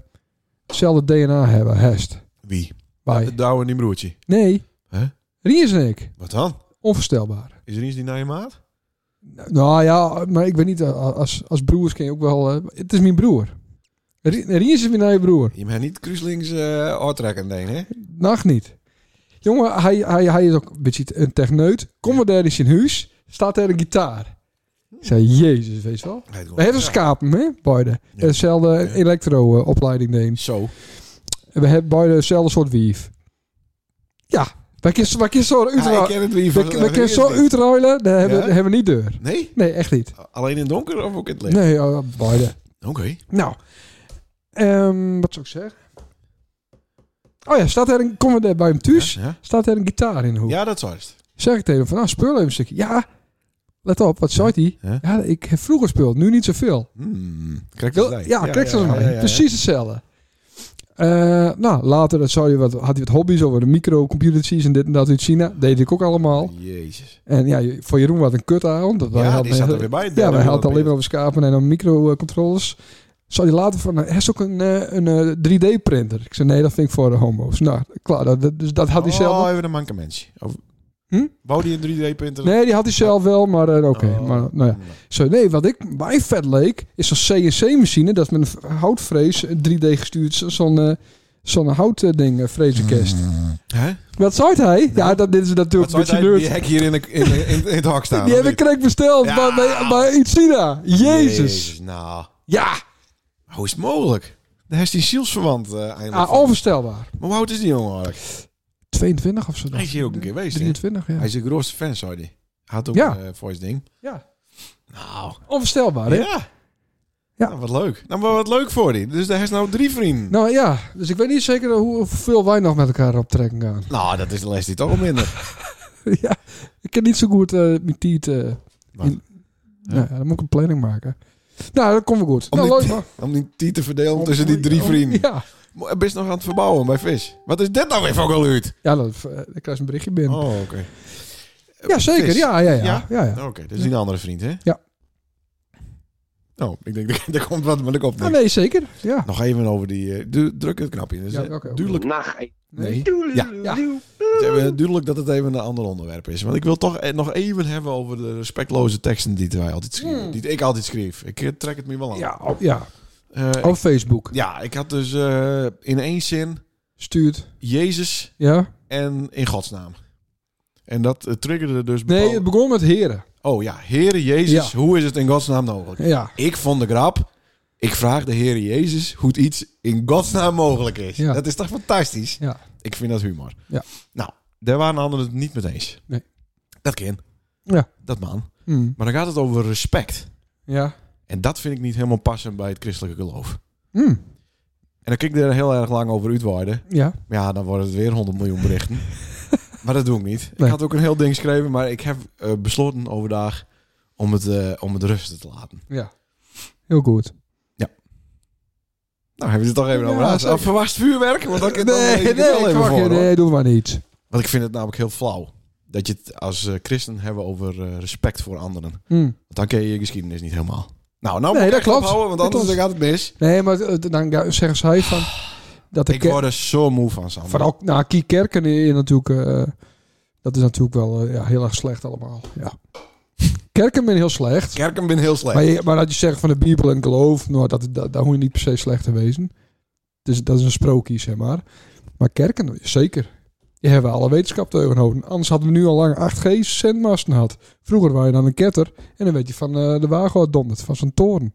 hetzelfde DNA hebben, hest.
Wie?
Wij.
Het Douwe en die broertje.
Nee.
Hè?
Ries en ik.
Wat dan?
Onvoorstelbaar.
Is er iets die naar je maat?
Nou ja, maar ik weet niet, eh, als, als broers ken je ook wel... eh, het is mijn broer. Rie- Ries is weer naar je broer.
Je mag niet kruislings eh oortrekken, denk hè?
Nacht niet. Jongen, hij, hij, hij is ook een beetje een techneut. Kom maar daar in zijn huis. Staat er een gitaar. Ik zei, jezus, weet je wel.
Hij doet
We hebben
gewoon-
schapen, hè, beide.
Ja.
Hetzelfde
Ja.
elektro-opleiding deed.
Zo.
En we hebben beide hetzelfde soort wief. Ja, wij kunnen wij kunnen zo
Ja, ik
uitruilen.
ken het wie
We
van-
we kunnen zo
van-
uitruilen, daar hebben,
Ja?
daar hebben we niet deur.
Nee?
Nee, echt niet.
Alleen in het donker of ook in het licht?
Nee, oh, beide.
Oké.
Nou, ehm, wat zou ik zeggen? Oh ja, staat er een, komen we daar bij hem thuis?
Ja, ja.
Staat er een gitaar in de hoek?
Ja, dat zou het.
zeg ik tegen hem van, nou, speel even een stukje. Ja, let op, wat zei hij?
Ja.
Ja. ik heb vroeger gespeeld, nu niet zoveel.
Hmm. Krijg je
Wil-
dat bij?
ja, kijk zo
ja, ja, ja.
Precies hetzelfde. Eh, nou, later dat zou je wat, had hij wat hobby's over de microcomputertjes en dit en dat uit China. Deed ik ook allemaal.
Jezus.
En ja, je- voor Jeroen wat een kut aan. Dat wij
Ja, die
hadden,
zat er weer bij.
ja, wij hadden het alleen maar over schapen en dan microcontrollers. Zou hij later van, nou, hij is ook een, eh, een eh, 3D-printer. Ik zei, nee, dat vind ik voor de homo's. Nou, klaar. Dat, dat- dus dat had hij zelf
Oh, even een mankementje. Of...
Hm?
Wou die een 3D-printer?
Nee, die had hij zelf wel, maar eh, oké.
Oh.
Maar, nou ja. Zo, nee, wat ik bij vet leek, is zo'n CNC-machine. Dat is met een v- houtvrees eh, 3D gestuurd. zo- Zo'n eh, zo'n houtding, uh, vrezenkist.
Hè?
Wat zei hij? Ja, dat, dit is natuurlijk een
Hmm. Wat
beetje
zou die
nerd.
hek hier in, de, in, de- in, in het hak staan?
Die
of
heb ik
niet?
krek besteld
Ja.
bij, bij, bij uit China. Jezus.
Nou,
Ja,
hoe is het mogelijk? Daar is die zielsverwant eh eindelijk.
ah,
van.
onvoorstelbaar.
Maar hoe oud is die jongen eigenlijk?
22 of zo.
Hij is hier ook een keer geweest. hè?
23, ja.
Hij is een grootste fan, zei hij. Hij Had ook
Ja.
een eh, voice ding.
ja.
Nou,
Onvoorstelbaar, hè?
ja.
Ja.
Nou, wat leuk. Nou, maar wat leuk voor die. Dus daar is nou drie vrienden. Nou,
Nou ja, dus ik weet niet zeker hoe- hoeveel wij nog met elkaar op trekken gaan.
Nou, dat is de les die toch al minder.
ja, ik ken niet zo goed eh mijn tiet. eh,
Wat?
in- Nou ja, dan moet ik een planning maken. Nou, dat komt wel goed.
Om
nou,
die-
leuk man.
Om die tiet te verdelen tussen die drie vrienden.
Ja,
Maar Hij is nog aan het verbouwen bij Vis. Wat is dit nou weer voor geluid?
ja dat, eh, ik krijg een berichtje binnen.
Oh, oké.
ja, zeker.
Vis.
Ja, ja, ja.
Ja?
ja? ja,
Oké, dat is die een andere vriend, hè?
Ja.
Nou, ik denk, er- er komt wat, maar ik op.
Ah, nee, zeker. Ja.
Nog even over die... eh, du- druk het knapje. Dus,
Ja, oké,
eh,
oké.
duidelijk... Nee. Ja.
Ja.
Het is even duidelijk dat het even een ander onderwerp is. Want ik wil toch eh, nog even hebben over de respectloze teksten die wij altijd schreven.
Hmm.
Die ik altijd schreef. Ik eh, trek het me wel aan.
Ja, Oh. op, ja.
Eh, ik-
op Facebook.
ja, ik had dus eh, in één zin
Stuurt.
Jezus
Ja.
en in Gods naam. En dat eh, triggerde dus...
Nee, het
bepaalde-
begon met heren.
Oh ja, Heere Jezus, hoe is het in Gods naam mogelijk?
Ja.
Ik vond de grap. Ik vraag de Heer Jezus hoe het iets in godsnaam mogelijk is.
Ja.
Dat is toch fantastisch?
Ja.
Ik vind dat humor.
Ja.
Nou, daar waren anderen het niet mee eens.
Nee.
Dat kan.
Ja.
Dat man.
Hm.
Maar dan gaat het over respect.
Ja.
En dat vind ik niet helemaal passend bij het christelijke geloof.
Hm.
En dan kijk ik er heel erg lang over uitweiden.
Ja.
Maar ja, dan worden het weer 100 miljoen berichten. maar dat doe ik niet.
Nee.
Ik had ook een heel ding geschreven, maar ik heb eh, besloten overdag om het, eh, om het rusten te laten.
Ja. Heel goed.
Nou, hebben we het toch even
Ja,
over gehad.
zeker.
Ah, Verwacht vuurwerk? Want dat, dat lees ik
nee,
er wel
nee,
even
fuck
voor,
je,
hoor.
nee, doe maar niet.
Want ik vind het namelijk heel flauw. Dat je het als eh, christen hebben over eh, respect voor anderen. Want
Hm.
dan ken je je geschiedenis niet helemaal. Nou, nou
Nee,
moet ik
dat
echt
klopt.
ophouden, want
Dat
anders
klopt.
gaat het mis.
Nee, maar eh, dan zeggen zij van... Dat
Ah, Ik word er zo moe van, Sander.
Vooral na Kiekerken is natuurlijk. eh, dat is natuurlijk wel eh, ja, heel erg slecht allemaal. Ja. Kerken zijn heel slecht.
Kerken ben heel slecht.
Maar, je, maar dat je zegt van de Bijbel en geloof, nou, dat, dat, daar hoef je niet per se slecht te wezen. Dus, dat is een sprookje, zeg maar. Maar kerken, zeker. Die hebben alle wetenschap tegenover. Anders hadden we nu al lang 8G-zendmasten gehad. Vroeger waren je dan een ketter en dan weet je van eh, de wagen dondert, van zijn toren.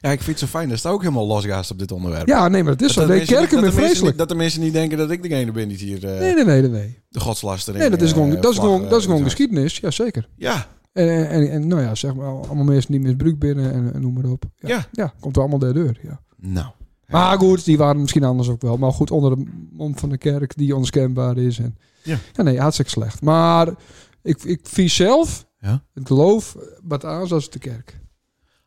Ja, ik vind het zo fijn. Dat staat ook helemaal losgaast op dit onderwerp.
Ja, nee, maar dat is zo.
de
Nee,
mensen-
kerken
dat
zijn
de mensen
vreselijk.
niet- Dat de mensen niet denken dat ik degene ben die hier eh,
Nee, nee, nee, nee. Nee,
de godslastering...
nee dat is
eh,
gewoon, dat is
vlag,
gewoon,
eh,
dat is gewoon
uithangt.
geschiedenis. Jazeker.
Ja,
En, en, en, en nou ja, zeg maar, allemaal mensen die misbruik binnen en, en noem maar op. Ja,
Ja.
komt er allemaal door de deur. Ja.
nou.
Maar goed, die waren misschien anders ook wel. Maar goed, onder de mond van de kerk die onmiskenbaar is. En,
Ja.
nee, hartstikke slecht. Maar ik, ik vind zelf
Ja.
het geloof wat aan als de kerk.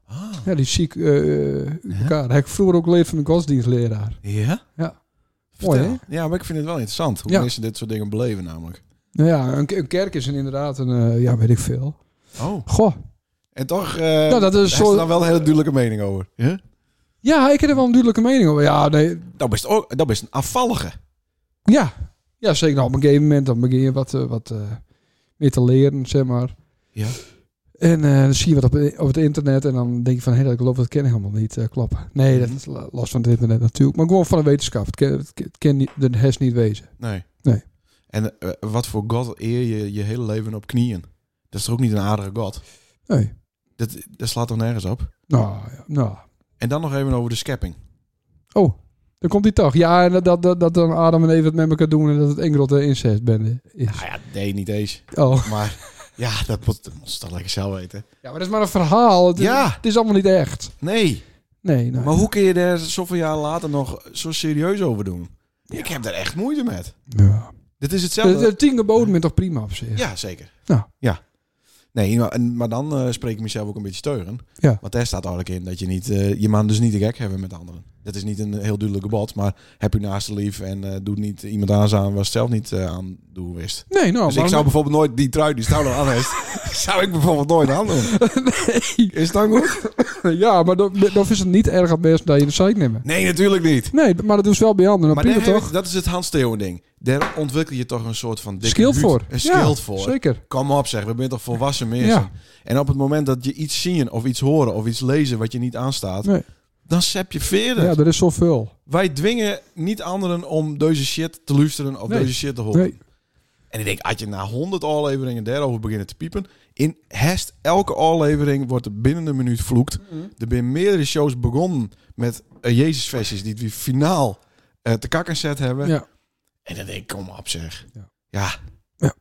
Ah,
Ja, die zie ik eh, uit elkaar. Heb ik vroeger ook geleerd van een godsdienstleraar.
ja?
Ja.
Vertel.
Mooi,
Ja, maar ik vind het wel interessant hoe
Ja.
mensen dit soort dingen beleven namelijk.
Nou ja, een, een kerk is een, inderdaad een, eh, ja, weet ik veel.
Oh.
Goh,
En toch eh
nou dat is
daar is
zo...
dan wel een hele duidelijke mening over. Ja?
Ja, ik heb er wel een duidelijke mening over. Ja, nee,
Dat is ook dat is een afvallige.
ja. ja zeker. Nou, op een gegeven moment dan begin je wat, eh, wat eh, meer te leren, zeg maar.
Ja.
En eh, dan zie je wat op, op het internet en dan denk je van... Hé, dat klopt, dat ken ik helemaal niet. eh, kloppen. Nee,
Mhm.
dat is la- los van het internet natuurlijk. Maar gewoon van de wetenschap. Het kan, het kan- het kan niet, de hes niet wezen.
Nee.
Nee.
En eh, wat voor God eer je je hele leven op knieën? Dat is toch ook niet een aardige God?
Nee.
Dat, dat slaat toch nergens op?
Nou, ja, nou.
En dan nog even over de schepping.
Oh, dan komt hij toch. Ja, en dat, dat, dat, dat dan Adam en Eva het met elkaar doen... en dat het één grote incestbende is.
Nou ja, nee, niet eens.
Oh.
Maar ja, dat moet, dat moet ze toch lekker zelf weten.
Ja, maar dat is maar een verhaal. Het,
Ja.
het is allemaal niet echt.
Nee.
Nee, nou,
Maar hoe kun je daar zoveel jaar later nog zo serieus over doen? Ik heb daar echt moeite met.
Ja.
Dit is
De, de
hetzelfde.
Eh, tien geboden ben toch prima op zich?
Ja, zeker.
Ja.
ja. Nee, maar, en- maar dan eh, spreek ik mezelf ook een beetje teuren.
Ja.
Want daar staat eigenlijk in dat je niet, eh, je man dus niet de gek hebben met anderen. Dat is niet een heel duidelijk gebod, maar heb je naast lief en eh, doe niet iemand aan aan wat zelf niet eh, aan doen wist.
Nee, nou,
dus ik
maar-
zou bijvoorbeeld nooit die trui die Stouw nog aan heeft, zou ik bijvoorbeeld nooit aan doen.
Nee.
Is het dan goed?
ja, maar dan dan is het niet erg aan mensen dat je de site nemen.
Nee, natuurlijk niet.
Nee, maar dat doen ze wel bij anderen.
Maar
Dan prima
daar heb
toch?
ik- dat is het Hans Theo ding. Daar ontwikkel je toch een soort van dikke
Schild
huid.
voor.
Een schild
ja,
voor.
Zeker.
Kom op zeg, we zijn toch volwassen mensen.
Ja.
En op het moment dat je iets zien of iets horen of iets lezen wat je niet aanstaat,
Nee.
dan sep je verder.
Ja, er is zoveel.
Wij dwingen niet anderen om deze shit te luisteren of
Nee.
deze shit te horen.
Nee.
En ik denk, als je na 100 afleveringen daarover beginnen te piepen, in hest elke aflevering wordt er binnen een minuut vloekt.
Mhm.
Er zijn meerdere shows begonnen met eh, Jezus-versies die we finaal eh, te kakken set hebben.
Ja.
En dan denk ik, kom op zeg.
Ja.
ja.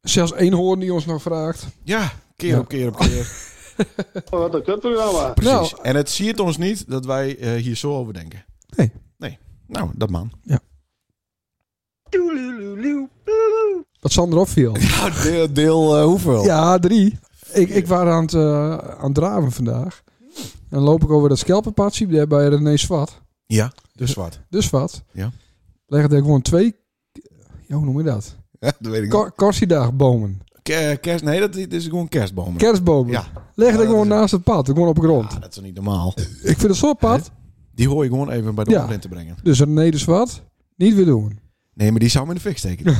Zelfs één hoorn die ons nog vraagt.
Ja, keer
Ja.
op keer op keer.
Wat een kutprogramma.
Precies.
Nou.
en het siert ons niet dat wij eh, hier zo over denken.
Nee.
Nee. Nou, dat man.
Wat Sander opviel.
Ja, Nou, deel, deel eh, hoeveel?
Ja, drie. Ik, ik was aan het, eh, aan het draven vandaag. En dan loop ik over dat schelpenpad daar bij René Swart.
Ja, dus wat?
Dus wat?
Ja.
Legde ik gewoon twee... Ja, hoe noem je dat?
Ja, dat weet ik niet.
Kor- Korsiedagbomen.
Ke- Kerst, nee, dat is gewoon kerstbomen.
Kerstbomen.
Ja.
Leg
Ja,
ik
dat
gewoon
is-
naast het pad, gewoon op de grond.
Ah, dat is niet normaal.
Ik vind het zo'n pad,
Die hoor je gewoon even bij de
Ja.
ja. te brengen.
dus René de Zwart, niet weer doen.
Nee, maar die zou me in de fik steken.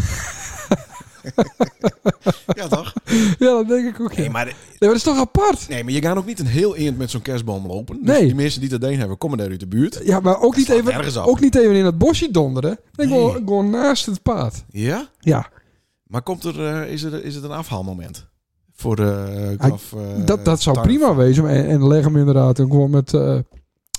ja, toch?
Ja, dat denk ik ook. ja.
Nee
Nee,
maar,
maar dat is toch apart?
nee, maar je gaat ook niet een heel eind met zo'n kerstboom lopen. Dus
Nee.
Die mensen die dat deen hebben, komen daar uit de buurt.
Ja, maar ook, niet
slaat
even,
nergens op.
ook niet even in het bosje donderen. Nee,
Nee.
Gewoon, gewoon naast het pad.
Ja?
Ja,
Maar komt er, eh, is, er, is het een afhaalmoment? Voor de
Ah,
graf, eh,
dat, dat zou
tarf?
prima wezen. En, en leg hem inderdaad en gewoon met eh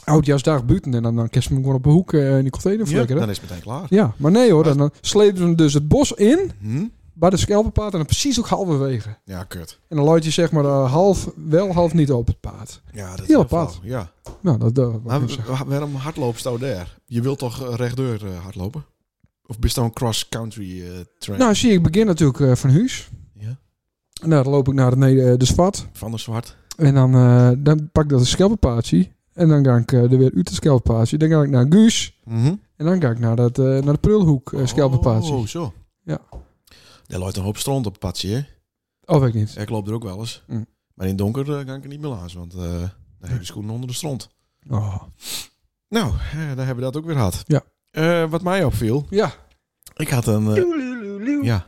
oudjaarsdag buiten. En dan, dan kerst hem gewoon op een hoek eh, in die container
Ja,
flikkeren.
dan is het meteen klaar.
Ja, maar nee hoor. Dan, dan slepen ze hem dus het bos in,
Hm?
bij de schelpenpaad. En dan precies ook halverwege.
Ja, kut.
En dan luidt je zeg maar eh, half wel, half niet op het paad.
Ja, dat is
Heel
heel
apart.
flauw, Ja.
Nou, dat, dat
Maar wa- waarom hardloopt jou daar? Je wilt toch eh, rechtdoor eh, hardlopen? Of bist dan een cross-country eh, train?
Nou, zie je, ik begin natuurlijk eh, van huis.
Ja.
En dan loop ik naar de, nee, eh, de Zwart.
Van de Zwart.
En dan, eh, dan pak ik dat een schelpenpaadje. En dan ga ik eh, er weer uit het schelpenpaadje. Dan ga ik naar Guus. En dan ga ik naar, dat, eh, naar de Prulhoek eh schelpenpaadje.
Hm? Oh, zo.
Ja.
Daar loopt een hoop stront op het padje, hè?
Oh, weet ik niet.
Ik loop er ook wel eens.
Hm.
Maar in het donker eh, kan ik er niet meer langs, want eh dan heb je schoenen onder de stront.
Oh.
Nou, eh, daar hebben we dat ook weer gehad.
Ja.
Eh, wat mij opviel,
Ja.
ik had een... eh, ja.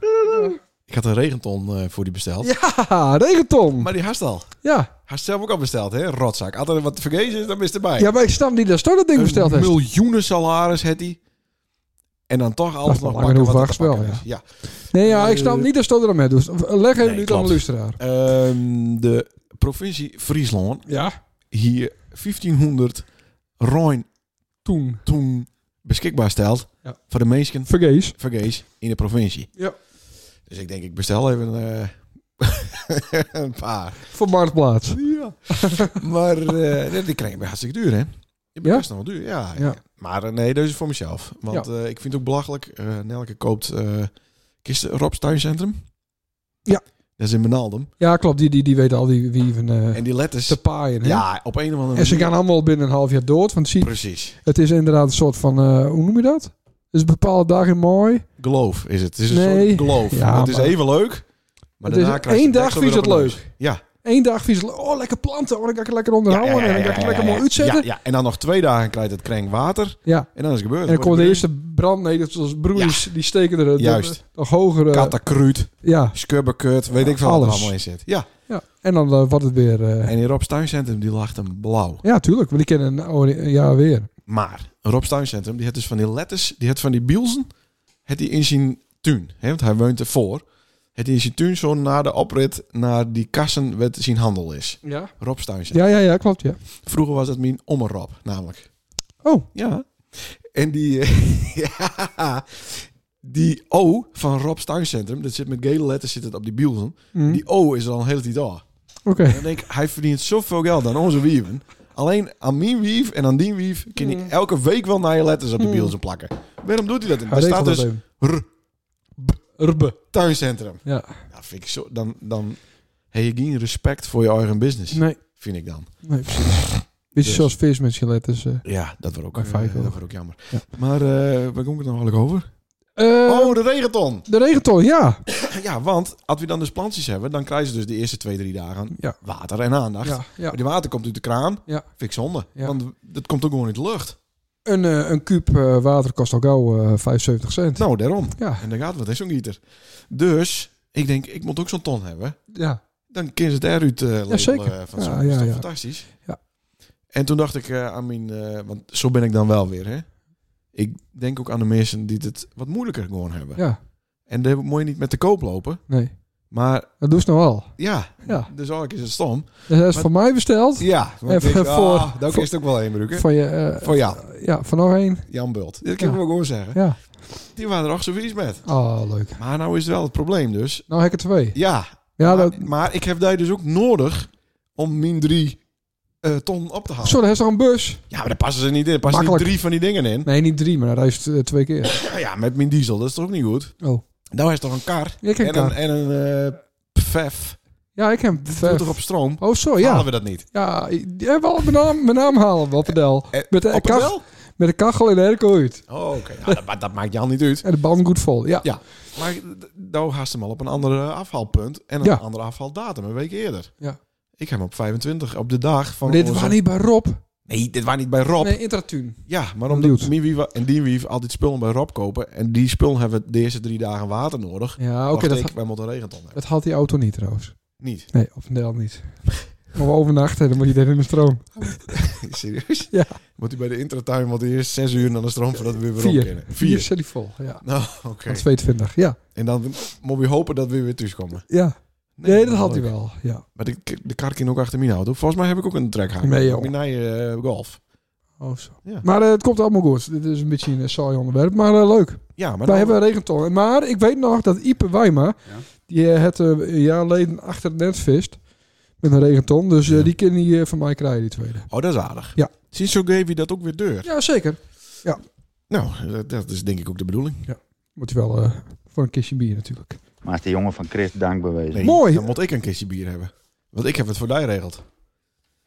Ik had een regenton eh, voor die besteld.
Ja, regenton.
Maar die had al.
ja.
Hij zelf ook al besteld, hè? Rotzak. Als er wat vergeten is, dan is het erbij.
ja, maar ik snap niet dat Stor dat ding besteld
een
heeft.
miljoenen salaris had hij. En dan toch
Dat
alles
is
nog
wel langer
pakken wat er
dan
te pakken
wel,
is. Ja.
Nee, ja, ik snap niet dat Stor dat mee doet. eh, Leg even
Eh, Nee,
nu aan de
klopt.
luisteraar.
Ehm, de provincie Friesland
Ja,
hier 1500 Rijn
toen.
toen beschikbaar stelt
Ja.
voor de mensen
Vergees.
vergees in de provincie.
Ja.
Dus ik denk, ik bestel even eh, een paar.
Voor Marktplaats.
Ja. maar eh, die kreeg ik bij hartstikke duur, hè? Die ben
Ja?
best nog wel duur, ja.
Ja.
Maar eh, nee, deze is voor mezelf. Want eh, ik vind het ook belachelijk. eh Nelke koopt eh kisten Rob's tuincentrum.
Ja.
Dat is in Benaldum.
Ja, klopt. Die, die, die weten al die wie van eh
En die letters...
te paaien. Hè?
Ja, op een of andere
En ze gaan allemaal binnen een half jaar dood. Want zie,
Precies.
het is inderdaad een soort van, eh, hoe noem je dat? Dus bepaalde dagen mooi.
Gloof is het. Het is een
Nee.
soort gloof.
Ja,
het is
maar-
even leuk, maar
Het is
daarna krijg je
één
de
dag
deksel weer
vies
op
het
de neus. Ja.
Eén dag vies. Oh, lekker planten. Oh, dan kan ik het lekker onderhouden.
ja, ja,
en dan kan ik
ja,
het lekker
ja,
mooi
ja.
uitzetten.
Ja, ja. En dan nog twee dagen krijgt het krenk water.
Ja.
En dan is het gebeurd.
En dan
Wordt
komen de
het
eerste brandnetels zoals broeiers. Die steken er eh,
Juist.
nog- nog hoger. eh,
weer Katakruut,
ja.
skubberkut, weet ik veel wat er
Alles.
allemaal in zit. Ja.
ja. En dan eh, wordt het weer... eh,
En in Rob's Tuincentrum, die lag hem blauw.
ja, tuurlijk. Want die kennen een oude- een jaar weer.
Maar Rob's Tuincentrum, die had dus van die letters, die had van die bielsen, had die in zijn tuin. Hè, want hij woont ervoor. Het in zijn tuin zo na de oprit naar die kassen waar zijn handel is.
Ja.
Rob's Tuincentrum.
Ja, ja, ja. Klopt, ja.
Vroeger was dat mijn omme Rob, namelijk.
Oh.
Ja. En die, eh, ja, die O van Rob's Tuincentrum, dat zit met gele letters zit het op die bielsen.
Hm.
Die O is er al een hele tijd al.
Oké.
En dan denk ik, hij verdient zoveel geld aan onze wieven. Alleen aan mijn wief en aan die wief kan hij
Mm.
elke week wel naar je letters op de
Mm.
bielsen plakken. Waarom doet hij dat? in?
Hij
Daar staat
regelt dat
dus
even.
R,
Rbe.
tuincentrum.
Ja.
Nou, vind ik zo, dan, dan heb je geen respect voor je eigen business,
Nee.
vind ik dan.
Nee, precies. Beetje
Dus.
zoals vis met skeletten. eh.
Ja, dat wordt ook,
Bij
eh,
Feyenoord.
dat wordt ook jammer.
Ja.
Maar eh, waar kom ik het nou eigenlijk over?
Eh,
oh, de regenton!
De regenton, ja.
Ja, want als we dan dus plantjes hebben, dan krijgen ze dus de eerste twee, drie dagen
Ja.
water en aandacht.
ja, ja.
Maar die water komt uit de kraan.
Ja.
Vind ik zonde.
Ja.
Want dat komt ook gewoon uit de lucht.
Een, eh, een kuub eh, water kost al gauw eh, 75 cent.
Nou, daarom.
Ja,
En daar gaat wat, hè, zo'n gieter. Dus, ik denk, ik moet ook zo'n ton hebben.
ja.
Dan kunnen ze het eruit eh labelen,
zeker.
eh, van
Ja,
zo'n.
ja,
dat is toch
ja.
fantastisch.
Ja.
En toen dacht ik eh, aan mijn... eh, want zo ben ik dan wel weer, hè. Ik denk ook aan de mensen die het wat moeilijker gewoon hebben.
ja.
En daar moet je niet met te koop lopen.
Nee,
Maar
dat doe ze nou al.
ja,
Ja.
dus eigenlijk is het stom.
Dus hij is
Maar-
voor mij besteld.
Ja, want
Even
ik denk,
voor-
ah, daar
voor-
is het ook wel een broeken.
Van je, eh,
Voor jou,
ja, nou van nog één.
Jan Bult. Dat kan ik
Ja.
ook gewoon zeggen.
Ja.
Die waren er ook zo vies met.
Oh, leuk.
Maar nou is het wel het probleem dus.
Nou, heb ik er twee.
Ja,
Ja,
maar,
dat...
maar ik heb daar dus ook nodig om min 3 ton op te halen.
Zo, daar is toch een bus?
Ja, maar daar passen ze niet in. Er passen niet
Makkelijk.
drie van die dingen in.
Nee, niet drie, maar hij reist eh, twee keer.
Nou ja, met min diesel, dat is toch ook niet goed?
Oh.
Nou, hij is toch een kar
Ik heb
en een,
kaart.
en een eh pfef.
Ja, ik heb
Dat doet toch op stroom?
Oh, zo,
Ja.
ja.
Halen we dat niet?
Ja, die hebben al mijn naam, mijn naam halen, wat pedel.
Eh,
Met de,
Op het
kach,
wel?
met de kachel in de airco uit.
Oh, oké. Ja, dat, maar dat maakt Jan niet uit.
En de band goed vol, ja.
Ja. Maar d- nou haast hem al op een ander afhaalpunt en een
Ja.
andere afhaaldatum, een week eerder.
Ja.
Ik heb hem op 25, op de dag van
Maar dit
onze-
was niet bij Rob.
Nee, dit was niet bij Rob.
Nee, Intratuun.
Ja, maar
Benieuwd.
omdat Miwief en Dienwief altijd spullen bij Rob kopen. En die spullen hebben de eerste drie dagen water nodig.
Ja, oké,
Oké,
dat,
ik, wij moeten een regenton hebben.
dat had die auto niet trouwens.
Niet.
Nee, op een deel niet. Of overnachten, dan moet je daar in de stroom.
Serieus?
Ja.
Moet hij bij de intratuin, want eerst zes uur naar de stroom voordat we weer weer op
Vier.
kunnen.
Vier city vol, ja.
Nou, oké.
Van 22, ja.
En dan moet je hopen dat we weer thuiskomen.
Ja,
Nee,
nee, dat had hij
leuk.
wel, ja.
Maar de, de kar kan ook achter mijn auto. Volgens mij heb ik ook een trekhaak.
Nee, joh.
Op Mijn eh, golf.
Oh, zo.
Ja.
Maar eh, het komt allemaal goed. Dit is een beetje een saai onderwerp, maar eh, leuk.
Ja, maar
Wij
dan-
hebben een regenton. Maar ik weet nog dat Ipe Wijma,
Ja.
die eh, het eh, een jaar geleden achter het net vist met een regenton. Dus eh,
Ja.
die kan hij eh, van mij krijgen, die tweede.
Oh, dat is aardig.
Ja.
Sinds zo geef je dat ook weer deur.
Ja, zeker.
Nou, dat, dat is denk ik ook de bedoeling.
Moet je wel eh, voor een kistje bier natuurlijk.
Maar is de jongen van Chris dankbewezen.
Nee,
Mooi.
Dan moet ik een kistje bier hebben. Want ik heb het voor jou geregeld.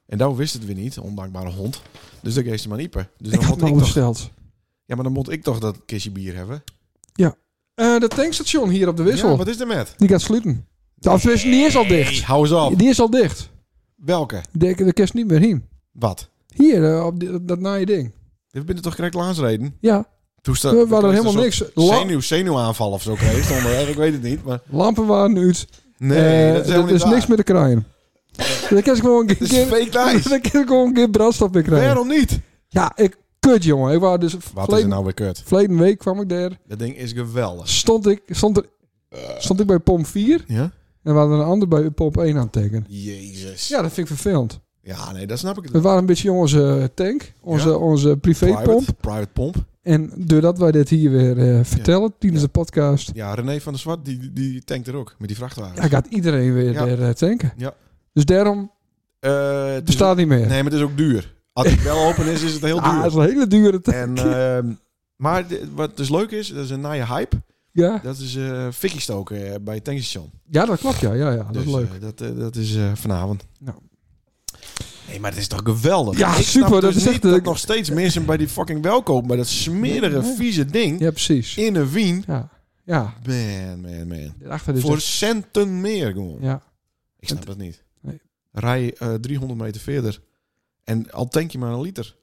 En daar wist het weer niet, ondankbare hond. Dus dat geeft ze maar niepen. Dus
ik
dan
had
moet
nog
ik toch,
besteld.
ja, maar dan moet ik toch dat kistje bier hebben.
Eh de tankstation hier op de wissel,
Ja, wat is er met?
die gaat sluiten. De afwisseling die is al dicht.
Hou eens op.
Die is al dicht.
Welke?
De, de kerst niet meer heen.
Wat?
Hier, eh, op die- dat naaie ding.
We binnen toch correct laansreden?
Ja,
Toestel.
we hadden helemaal niks. La-
Zenuw, zenuwaanval of zo kreeg. Stond er, ik weet het niet. Maar
lampen waren uit.
nee,
Eh,
dat is
er
helemaal
is
niet
niks
waar.
meer te krijgen. Dan kan ik gewoon een
Het is
keer-
fake nice.
dan kan ik gewoon een keer brandstof meer krijgen.
Waarom niet?
Ja, ik kut jongen. Ik was dus
Wat is er
verleden,
nou weer kut?
verleden week kwam ik daar.
Dat ding is geweldig.
Stond ik, stond er, stond ik bij pomp 4
Ja?
en we hadden een ander bij pomp 1 aan het tekenen.
Jezus.
Ja, dat vind ik vervelend.
Ja, nee, dat snap ik.
Het waren een beetje onze eh, tank, onze,
Ja.
onze privépomp.
Private, private pomp.
En doordat wij dit hier weer eh, vertellen tijdens de podcast,
Ja, René van der Zwart, die, die tankt er ook met die vrachtwagen.
ja, gaat iedereen weer
Ja.
weer, eh, tanken.
Ja.
Dus daarom
Eh, het is
bestaat niet meer.
ook- nee, maar het is ook duur. Als het wel open is, is het heel
Ah, dat
duur.
is een hele dure tank.
en, ehm, maar de- wat dus leuk is, dat is een naaie hype.
ja.
Dat is eh fikkie stoken eh, bij het tankstation.
ja, dat klopt. Ja, ja, ja dat
Dus,
is leuk.
eh, dat, eh, dat is eh, vanavond.
Nou.
Nee, Nee, maar het is toch geweldig?
Ja,
Ik snap
super, dat
dus
is
niet
echt,
dat
eh,
nog steeds mensen bij die fucking welkoop, bij dat smerige,
Nee.
vieze ding
Ja, precies.
in een Wien.
Ja, ja.
Man, man, man.
Daarachter is
Voor
echt-
centen meer gewoon.
ja.
Ik snap dat niet.
Nee.
Rij eh, 300 meter verder en al tank je maar een liter.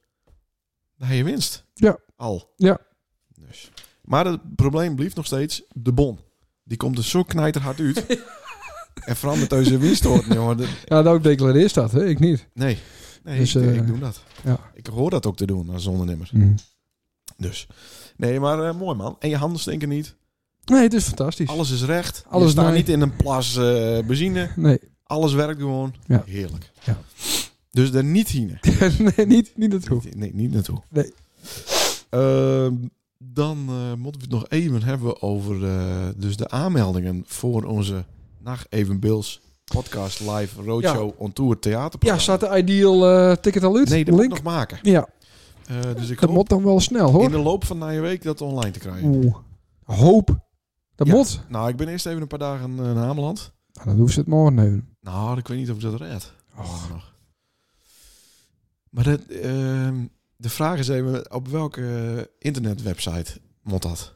Dan heb je winst.
Ja.
Al.
Ja.
Dus. Maar het probleem blijft nog steeds de bon. Die komt er zo knijterhard uit. en vooral met deze winsthoorn, jongen. Dat-
ja, nou declareer dat, hè? ik niet.
Nee, nee
Dus,
ik,
eh,
ik doe dat.
ja.
Ik hoor dat ook te doen als ondernemer. Dus. Nee, maar eh, mooi man. En je handen stinken niet.
Nee, het is fantastisch.
Alles is recht.
Alles
je staat
mooi.
niet in een plas eh, benzine.
Nee,
Alles werkt gewoon.
Ja.
Heerlijk.
Ja.
Dus er niet heen.
nee niet, niet naartoe.
Niet- Nee, niet naartoe.
Nee.
Ehm, dan eh, moeten we het nog even hebben over eh, dus de aanmeldingen voor onze Nacht Even Bills podcast live roadshow on tour
Ja,
theaterprogramma.
staat de ideal eh, ticket al uit?
Nee, dat moet ik
Link?
nog maken.
Ja,
Eh, dus ik
dat
hoop
moet dan wel snel, hoor.
in de loop van na je week dat online te krijgen.
Oeh. Hoop. Dat
Ja.
moet.
Nou, ik ben eerst even een paar dagen eh, naar Ameland.
Nou, dan doen ze het morgen even.
Nou, ik weet niet of ik dat red. Oh,
Och.
Nog. Maar dat, ehm, de vraag is even, op welke eh, internetwebsite moet dat?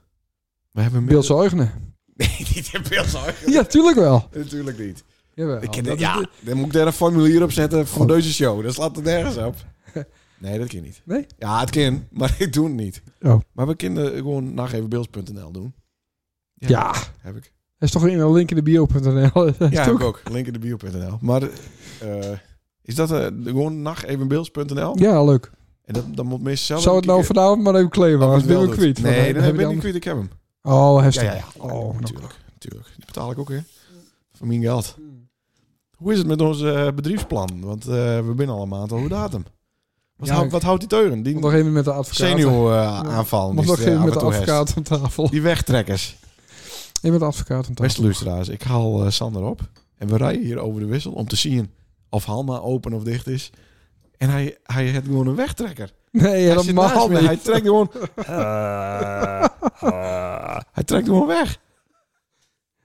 We hebben meer-
Beeldse eigenen.
Nee, niet in Beels
Ja, tuurlijk wel.
Natuurlijk niet. Nou,
Jawel,
Ik ken
dat
dit-
is
ja,
de-
dan moet ik daar een formulier op zetten voor
Oh.
deze show. Dat slaat het nergens op. Nee, dat kan niet.
Nee?
Ja, het kan, maar ik doe het niet.
Oh.
Maar we kunnen gewoon nagevenbeels.nl doen.
Ja,
Heb ik.
er is toch een link in de bio.nl. Dat is
Ja, heb
toch-
ik ook. Link in de bio.nl. Maar eh, is dat eh, gewoon nagevenbeels.nl?
ja, leuk.
En dat, dat moet mensen zelf...
Zou het nou
even
vanavond maar even kleden, want
kijken.
dan ben ik
Dat moet wel
kwijt.
doen.
Want
Nee,
dan
dat
heb
heb
je
ik
dan-
niet kwijt. Ik heb hem.
Oh, heeft
Ja, ja, ja.
Oh, natuurlijk.
natuurlijk. natuurlijk. Die betaal ik ook weer. Van mijn geld. Hoe is het met ons eh, bedrijfsplan? Want eh, we binnen al een maand over datum. Wat,
Ja,
hou-
ik-
wat houdt die teuren? Die
Nog even met de advocaat.
zenuw eh, aanval.
Nog
die is, eh,
even
af
met
en
de
toe herst.
advocaat aan tafel.
Die wegtrekkers.
Even met de advocaat aan tafel.
Beste luisteraars, ik haal eh, Sander op. En we rijden hier over de wissel om te zien of Halma open of dicht is. En hij, hij heeft gewoon een wegtrekker.
Nee,
hij, zit naast
helemaal
me,
niet.
hij trekt gewoon... Eh, hij trekt gewoon weg.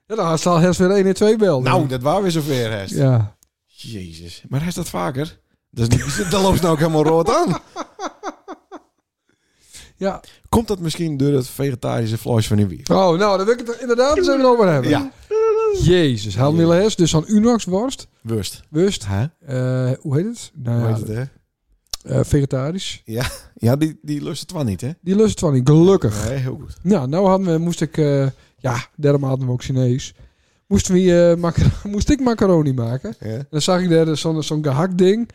Ja, dan staat Hers weer 1 en 2 belden.
Nou, dat waren weer zover, Hest.
Ja.
Jezus. Maar hij is dat vaker. Dat, is niet, dat loopt ze nou ook helemaal rood aan.
ja.
Komt dat misschien door het vegetarische vlees van die wief?
Oh, nou, daar wil ik het inderdaad zo over hebben.
Ja.
Jezus, Helmille Hers. Dus zo'n Unox-worst.
Wurst.
Wurst.
Hè?
Eh, hoe heet het? Nou,
Hoe
ja,
heet het, hè?
eh, Vegetarisch.
Ja, die, die lust het wel niet, hè?
Die lust het wel niet. Gelukkig.
Nee, heel goed.
Nou, nou hadden we, moest ik, eh, ja, daarom hadden we ook Chinees. Moesten we, eh, macar- moest ik macaroni maken. En
Ja.
dan zag ik daar zo'n zo'n gehakt ding,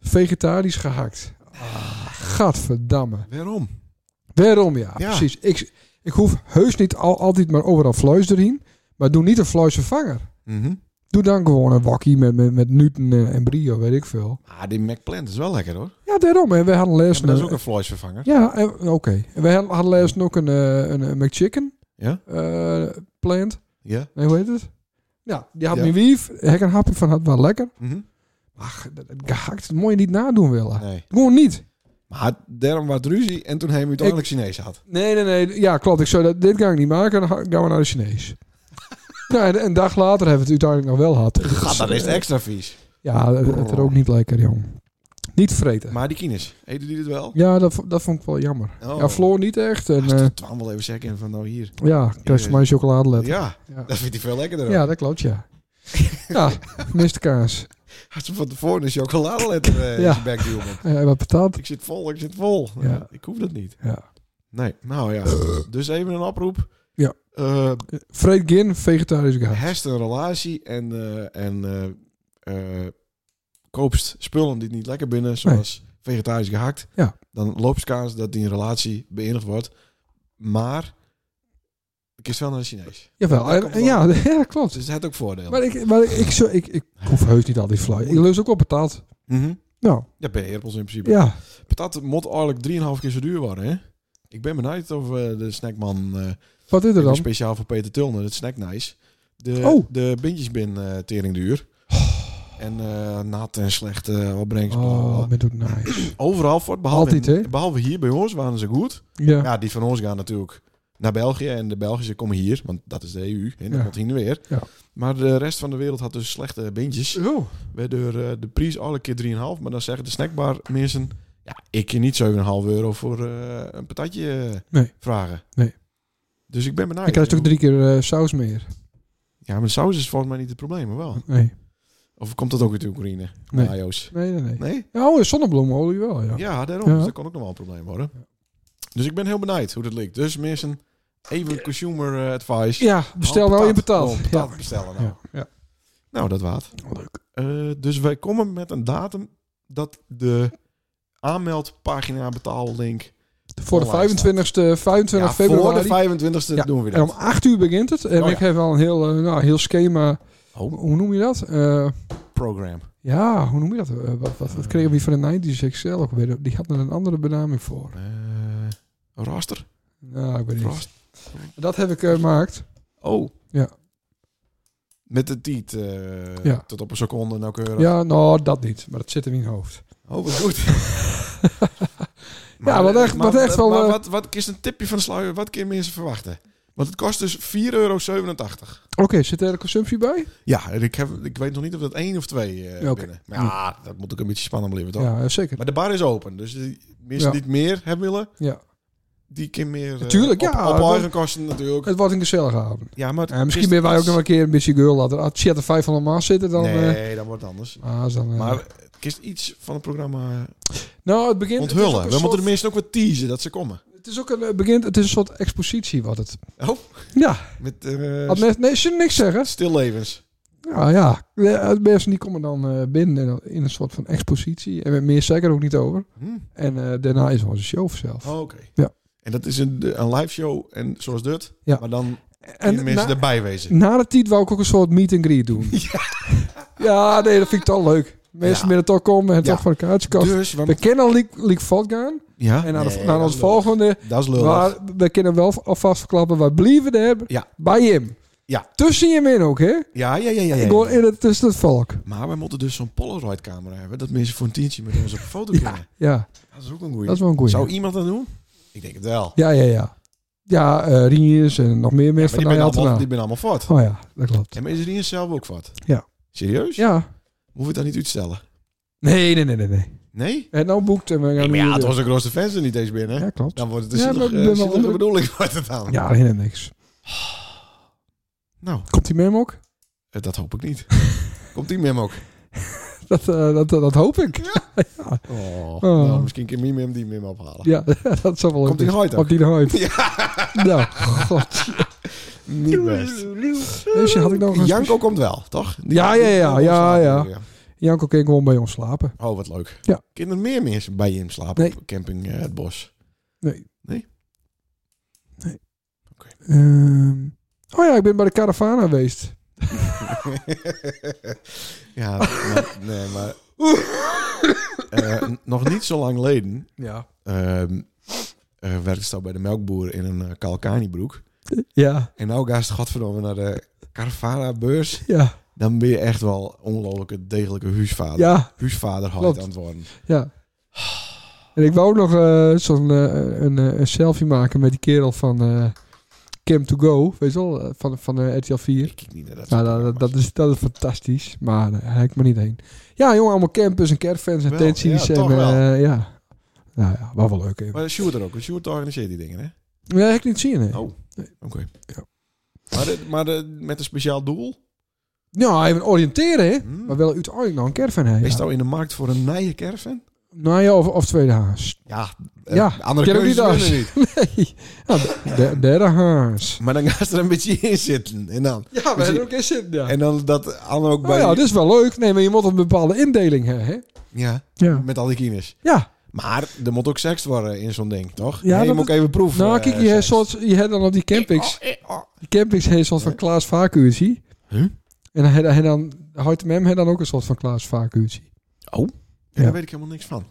vegetarisch gehakt. Ah, gadverdamme.
Waarom?
Waarom ja,
Ja.
precies. Ik, ik hoef heus niet al, altijd maar overal vlees erin, maar doe niet een vleesvervanger.
Mhm.
Doe dan gewoon een wakkie met, met, met Newton en, en Brio, weet ik veel.
Ah, die McPlant is wel lekker, hoor.
Ja, daarom. En we hadden
Ja,
les.
maar dat is ook een vleesvervanger.
Ja, en- oké. En we hadden les nog een, eh, een, een McChicken
Ja?
eh, plant.
Ja.
Nee, hoe heet het? Ja, die had
Ja.
mijn wief. Hek een hapje van had wel lekker.
Mhm.
Ach, dat- dat gehakt, dat moet je niet nadoen willen.
Nee.
Gewoon niet.
Maar daarom was het ruzie en toen hebben we uiteindelijk Chinees had.
Nee, nee, nee. Ja, klopt. Ik zou dat, dit ga ik niet maken. Dan ga- gaan we naar de Chinees. nou, en een dag later hebben we het uiteindelijk nog wel gehad.
Gat, dat is het extra vies.
Ja, het, het er ook niet lekker, jong. Niet vreten.
Maar die kines, eten die het wel?
ja, dat, vo- dat vond ik wel jammer.
Oh.
Ja, Floor niet echt. En, eh,
Ah, Twan wil even zeggen van nou hier.
ja, krijg je voor mij een chocoladelet.
Ja,
Ja.
dat vindt hij veel lekkerder.
ja, dat klopt, ja. ja, Mr. Kaas.
Had ze van tevoren een chocoladeletter eh
Ja.
in zijn bek duwen.
Eh, wat betaald?
Ik zit vol, ik zit vol.
Ja.
Eh, ik hoef dat niet.
Ja.
Nee, nou ja. Dus even een oproep.
Ja.
Eh,
Vreet gin, vegetarisch gehakt.
herst een relatie en, eh, en eh, eh, koopst spullen die niet lekker binnen, zoals vegetarisch gehakt.
Ja.
Dan loopt de kans dat die een relatie beëindigd wordt. Maar ik is wel naar de Chinees.
Jawel,
Dat
en-
kan
en
wel.
ja, ja, klopt.
Dus het heeft ook voordelen.
Maar ik, maar ik, ik, zo, ik, ik hoef heus niet altijd fly. Ik lust ook op patat.
Mhm.
Nou,
Ja, bij Herpels in principe.
ja.
Patat moet eigenlijk 3,5 keer zo duur worden, hè? Ik ben benieuwd of eh, de snackman... eh,
Wat is er
Ik ben
dan?
speciaal voor Peter Tulner, het snack nice. De,
Oh.
de bindjes bin eh tering duur. En eh nat en eh, slechte opbrengst. bla, bla,
Oh,
bla.
met doet nice.
Overal voor, behalve,
Altijd, hè?
behalve hier bij ons waren ze goed.
Ja.
Ja, die van ons gaan natuurlijk naar België. En de Belgische komen hier, want dat is de E EU. En dat
Ja.
komt hier weer.
Ja.
Maar de rest van de wereld had dus slechte bindjes.
Oh,
Waardoor eh, de prijs alle keer 3,5. Maar dan zeggen de snackbar mensen... Ja, ik kan niet 7,5 euro voor eh, een patatje eh,
Nee.
vragen.
Nee.
Dus ik ben benieuwd.
ik krijg toch drie keer eh, saus meer?
Ja, maar de saus is volgens mij niet het probleem, maar wel.
Nee.
Of komt dat ook uit Oekraïne?
Nee.
Mayo's.
Nee, nee, nee.
Nee?
Ja, Oh, zonnebloemolie wel, ja.
Ja, daarom.
Ja.
Dus dat kan ook nog wel een probleem worden. Dus ik ben heel benieuwd hoe dat ligt. Dus mensen, even consumer eh, advice.
Ja, bestel nou in
patat.
betaald.
Oh,
Ja.
patat bestellen nou.
Ja, ja.
Nou, dat waard.
Leuk.
Eh, dus wij komen met een datum dat de aanmeldpagina betaallink...
Voor de
Online staat.
25ste, 25
Ja, voor
februari.
de 25e
Ja,
doen we
en om
dat.
8 uur begint het. En
Oh,
ik heb al een heel, eh, nou, heel schema.
Oh,
Hoe noem je dat? Eh,
program.
ja, hoe noem je dat? Eh, wat, wat, wat kregen we van de 90s XL ook weer? Die had er een andere benaming voor.
Eh raster?
Nou, ik weet niet.
Raster.
Dat heb ik eh, gemaakt.
Oh.
Ja.
Met de tiet. eh,
Ja.
Tot op een seconde nauwkeurig.
Ja, nou, dat niet. Maar dat zit in mijn hoofd.
Oh, wat goed.
wat echt- wat echt wel,
Maar,
eh,
wat, wat is een tipje van de sluier? Wat kun je mensen verwachten? Want het kost dus 4,87 euro.
Oké, zit er een consumptie bij?
Ja, en ik, heb, ik weet nog niet of dat één of twee eh,
Ja, oké.
binnen. Maar ja, dat moet ook een beetje spannend blijven, toch?
Ja, eh, zeker.
Maar de bar is open. Dus die mensen
Ja.
die het meer hebben willen,
Ja.
die kunnen meer... eh,
Tuurlijk,
op,
ja,
Op
dat-
eigen kosten natuurlijk.
Het wordt een gezellige avond.
Ja, maar het
Eh, misschien
is-
ben wij ook nog een keer een beetje girl later. Als Chat er 500 maas zitten, dan... eh,
Nee, dat wordt anders.
ah, dan eh,
Maar het is iets van het programma
nou, het begint...
onthullen.
Het is
We
ook een
moeten de
soort,
mensen ook wat teasen dat ze komen.
het is ook een, eh, begint, het is een soort expositie, wat het.
Oh,
Ja,
met eh,
als mensen, nee, ze niks zeggen.
stillevens.
Ja, ja. Eh, als Mensen die komen dan eh, binnen en dan in een soort van expositie. En met meer zeker ook niet over.
Hm.
En eh, daarna is onze show zelf.
Oh, Oké.
Ja.
En dat is een, de- een live show en zoals dit.
Ja.
Maar dan
en
kunnen mensen
na-
erbij wezen.
Na de tijd wou ik ook een soort meet and greet doen. Ja, nee, dat vind ik toch leuk. Mensen
Ja.
met het toch komen en
Ja.
toch voor elkaar te komen.
Dus, want,
We kennen al League Vod gaan.
ja,
En naar, de,
Nee,
naar
dat
ons
is lullig.
volgende.
Dat is lullig.
Maar we kunnen wel alvast verklappen. We blijven er hebben.
Ja.
Bij hem.
Ja.
Tussen hem in ook, hè?
ja, ja, ja, ja. ja,
Ik hoor
ja.
in het, tussen het volk.
Maar we moeten dus zo'n Polaroid-camera hebben. Dat mensen voor een tientje met ons op een foto kunnen.
Ja,
Dat is ook een goeie.
dat is wel een goeie.
Zou iemand dat doen? Ik denk het wel.
Ja, ja, ja. Ja, eh Riens en nog meer
Maar
mensen
die
van
ben
de
allemaal,
Altena.
die ben allemaal fort.
Oh ja, dat klopt.
En maar is er niet zelf ook wat?
Ja.
Serieus?
Ja.
Hoef het dan niet uitstellen?
Nee, nee, nee, nee. nee.
Nee?
En nou boekt en we gaan nu
Maar ja, het
weer-
was de grootste fans er niet eens binnen.
Ja, klopt.
Dan wordt het dus eh, een
Ja, maar
zielige,
ik ben wel-
zielige bedoeling. Wordt het dan.
Ja, helemaal niks.
Nou,
Komt die mem ook?
eh, dat hoop ik niet. Komt die mem ook?
Dat, eh, dat, dat hoop ik.
Oh,
Oh.
Nou, misschien kan Mimim die Mim ophalen.
Ja, dat zou wel leuk
Komt die
zijn.
nooit ook?
Op die nooit.
Ja,
Nou, god.
niet best.
Weet je, had ik nog een...
Janko komt wel, toch? Die-
Ja, ja, ja,
die-
ja, ja. Janko kan gewoon bij ons slapen.
Oh, wat leuk.
Ja.
Kunnen er meer mensen bij je in slapen
Nee.
op camping eh, het bos?
Nee.
Nee?
Nee.
Oké.
Ehm, oh ja, ik ben bij de caravana geweest.
ja, maar, nee, maar... Eh, n- nog niet zo lang geleden
Ja.
ehm eh werkte ik bij de melkboer in een eh, Kalkanibroek.
Ja.
En nou ga je godverdomme naar de Caravana beurs.
Ja.
Dan ben je echt wel ongelooflijke degelijke huisvader.
Ja.
huisvader
Klopt.
hard aan het worden.
Ja. En ik wou ook nog eh, zo'n eh, een, eh, een selfie maken met die kerel van eh Cam to Go, weet je wel, eh, van, van eh, RTL 4.
Ik kijk niet naar dat.
Nou,
soort
dat, dat,
programma's.
dat is, dat is fantastisch, maar eh, hij ik maar niet heen. Ja, jongen, allemaal campers en caravans en
Wel,
tenties
ja,
en
toch wel.
eh, ja. Nou ja, wat wel leuk even.
Maar Sjoerd er ook. want Sjoerd organiseert die dingen, hè?
Ja, heb ik niet zien, hè?
Oh. Oké.
Ja.
Maar, de- maar de- met een speciaal doel?
Ja, Nou, even oriënteren, hè?
Hmm.
Maar wel uiteindelijk nog een caravan heen.
Is
Ja.
het al in de markt voor een nije caravan?
Nou ja, of, of tweede haas.
Ja, eh,
Ja,
andere
ken ook
keuzes
niet
zijn
als.
er niet.
Nee. Ja, de- de- derde haas.
Maar dan gaat ze er een beetje in zitten. En dan,
Ja,
we hebben
ook eens zin, ja.
en dan dat Anne ook
Oh
bij...
ja, dit is wel leuk. Nee, maar je moet een bepaalde indeling hebben, hè?
ja,
Ja.
met al die kines.
Ja.
Maar er moet ook seks worden in zo'n ding, toch?
Ja,
Ja, je
dat
moet ook even proeven.
Nou,
eh,
kijk, je hebt,
seks. Oh, eh,
soort, je hebt dan op die campings... Die campings heeft een soort van Klaas Vacuurtje.
Huh?
En dan, hij dan, houdt mem heeft dan ook een soort van Klaas Vacuurtje.
Ja,
Ja.
Daar weet ik helemaal niks van.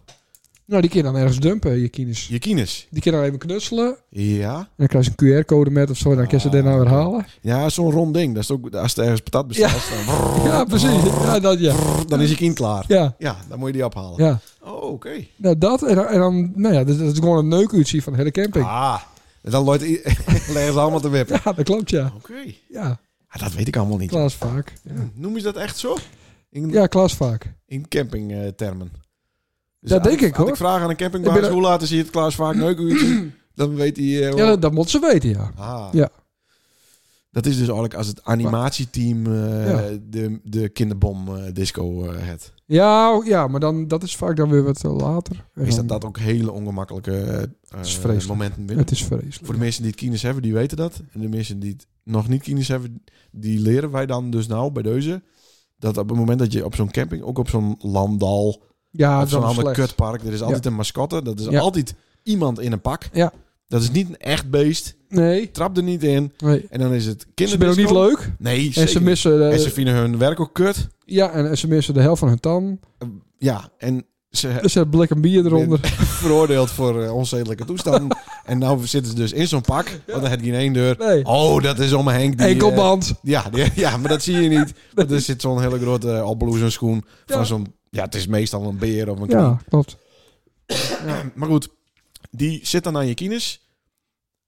Nou, die kun je dan ergens dumpen, je kines.
Je kines.
Die kun je dan even knutselen. En
Ja.
dan krijg je een QR-code met of zo. En dan kun je ze
Ah,
daarna weer
oké.
halen.
Ja, zo'n rond ding. Dat is ook, als er ergens patat bestelt, dan,
Ja, precies. Ja, dat ja.
dan is je kind klaar.
Ja,
Ja, dan moet je die ophalen.
ja.
Oh, oké.
Nou, dat en, dan- en dan... Nou ja, dat, dat is gewoon een neukuurtje van de hele camping.
Ah,
En dan loopt i- leggen ze allemaal te wippen.
Ja, dat klopt, ja.
Oké.
Ja,
Ah, dat weet ik allemaal niet.
Klaas vaak.
Ja, Noem je dat echt zo? In,
Ja, Klaas vaak.
in campingtermen. Dus
Dat
had
denk ik,
had
hoor.
ik vraag aan een
Ik
campingbaas,
ben er-
hoe laat is hier het Klaas vaak neuken? dan weet hij... eh,
Ja, dat, dat moet ze weten, ja.
Ah.
Ja.
Dat is dus eigenlijk als het animatieteam eh,
Ja.
de, de kinderbom eh, disco eh het.
Ja, oh, ja maar dan, dat is vaak dan weer wat eh, later. En
Is
dan-
dat dat ook hele ongemakkelijke eh,
is
eh,
vreselijk.
momenten binnen?
Het is vreselijk.
Voor de mensen die het kines hebben, die weten dat. En de mensen die het nog niet kines hebben, die leren wij dan dus nou bij deze. Dat op het moment dat je op zo'n camping, ook op zo'n landal,
Ja,
op
dat
zo'n
is
ander
slecht.
kutpark, er is altijd een mascotte. Dat is
Ja.
altijd iemand in een pak.
Ja.
Dat is niet een echt beest.
Nee,
Trap er niet in.
nee.
En dan is het
Ze zijn ook
kinderdisco.
niet leuk.
Nee,
En ze, missen de,
en ze vinden hun werk ook kut.
ja, en ze missen de helft van hun tand.
Ja, en ze
Er zit blik en bier eronder.
veroordeeld voor eh, onzedelijke toestanden. en nou zitten ze dus in zo'n pak, want dan heb je geen één deur.
Nee.
Oh, dat is om Henk. Die, eh,
Enkelband.
ja, die- ja, maar dat zie je niet. Want er zit zo'n hele grote uh, schoen
Ja.
van zo'n... Ja, het is meestal een beer of een knie.
Ja, klopt.
Maar goed, die zit dan aan je kines.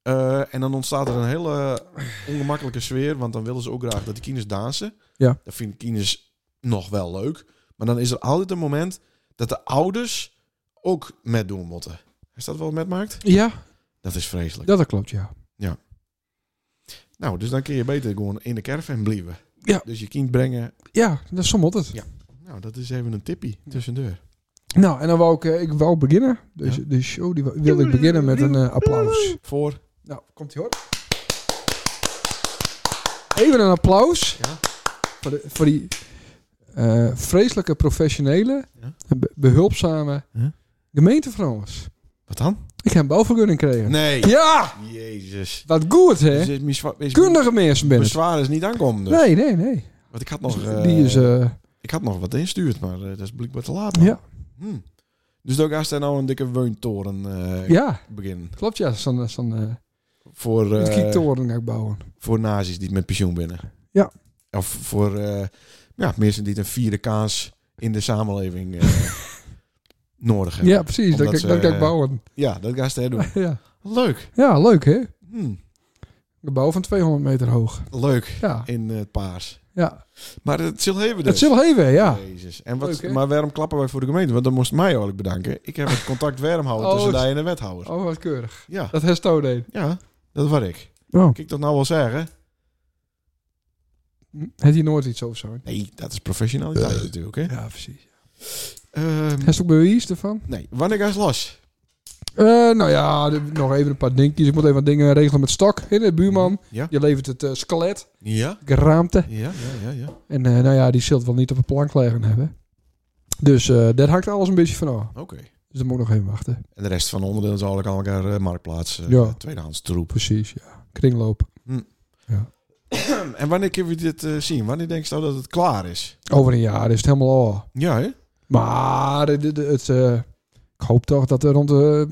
Eh, en dan ontstaat er een hele ongemakkelijke sfeer. Want dan willen ze ook graag dat de kines dansen.
Ja.
Dat vinden kines nog wel leuk. Maar dan is er altijd een moment dat de ouders ook met doen moeten. Is dat wel met maakt?
Ja,
Dat is vreselijk.
dat klopt, ja.
Nou, dus dan kun je beter gewoon in de caravan blijven.
Ja.
Dus je kind brengen.
Ja, dat is zo moet het.
Ja. Nou, dat is even een tippie tussendoor.
Nou, en dan wou ik, eh, ik wou beginnen. Dus
Ja.
de show die wou- wilde ik beginnen met een eh, applaus.
Voor.
Nou, komt ie hoor. Even een applaus.
Ja.
Voor, de, voor die eh, vreselijke professionele,
Ja.
en be- behulpzame
Ja.
gemeentevrouwers.
Wat dan?
Ik heb een bouwvergunning gekregen.
Nee.
Ja,
Jezus.
wat goed
Dus
hè.
is mijn zwa- is mijn
Kundige mensen ben ik.
bezwaar is niet aankomen. Dus.
Nee, nee, nee.
Want ik had nog, eh,
die is... eh,
ik had nog wat instuurd, maar eh, dat is blijkbaar te laat. man.
ja.
Hm. Dus dan gaat hij nou een dikke weuntoren eh,
ja,
beginnen.
klopt ja. Zo'n zo'n, eh,
Voor,
een
eh,
kiektoren ga ik bouwen.
voor nazi's die met pensioen binnen.
Ja.
Of voor eh, ja, mensen die een vierde kaas in de samenleving eh, nodig hebben.
Ja, precies. Dat,
Omdat
dat,
ze,
dat kan ik
eh,
bouwen.
Ja, dat gaat hij doen.
ja.
Leuk.
ja, leuk hè.
Hm.
De bouw van 200 meter hoog.
Leuk.
Ja,
In eh, het paars.
ja.
Maar het zil hebben
Dat
dus.
zullen even, ja.
Jezus. En wat,
Leuk, hè?
maar waarom klappen wij voor de gemeente? Want dan moest mij eigenlijk bedanken. Ik heb het contact warm houden
Oh,
tussen
het-
mij en de wethouder.
Oh, wat keurig.
Ja,
Dat Hesto deed.
ja, dat was ik.
Oh.
Kan ik dat nou wel zeggen?
Had hij nooit iets over zo?
Nee, dat is professionaliteit natuurlijk, hè?
Ja, precies.
Ehm,
Heeft ook bewijs ervan?
nee, wanneer ga je los?
Eh, nou ja, er- nog even een paar dingetjes. Ik moet even wat dingen regelen met stok. In de buurman.
Ja.
Je levert het eh, skelet,
Ja?
geraamte.
Ja, ja, ja, ja.
En eh, nou ja, die zult wel niet op een plank liggen hebben. Dus eh daar hangt alles een beetje van af.
Oké.
Dus daar moet ik nog even wachten.
En de rest van de onderdelen zal ik aan elkaar eh, marktplaats, eh,
Ja.
tweedehands troep.
Precies, ja. Kringloop.
en wanneer kunnen we dit eh, zien? Wanneer denk je nou dat het klaar is?
Over een jaar is het helemaal al.
Ja, hè?
Maar het, het- het, eh, ik hoop toch dat er rond de,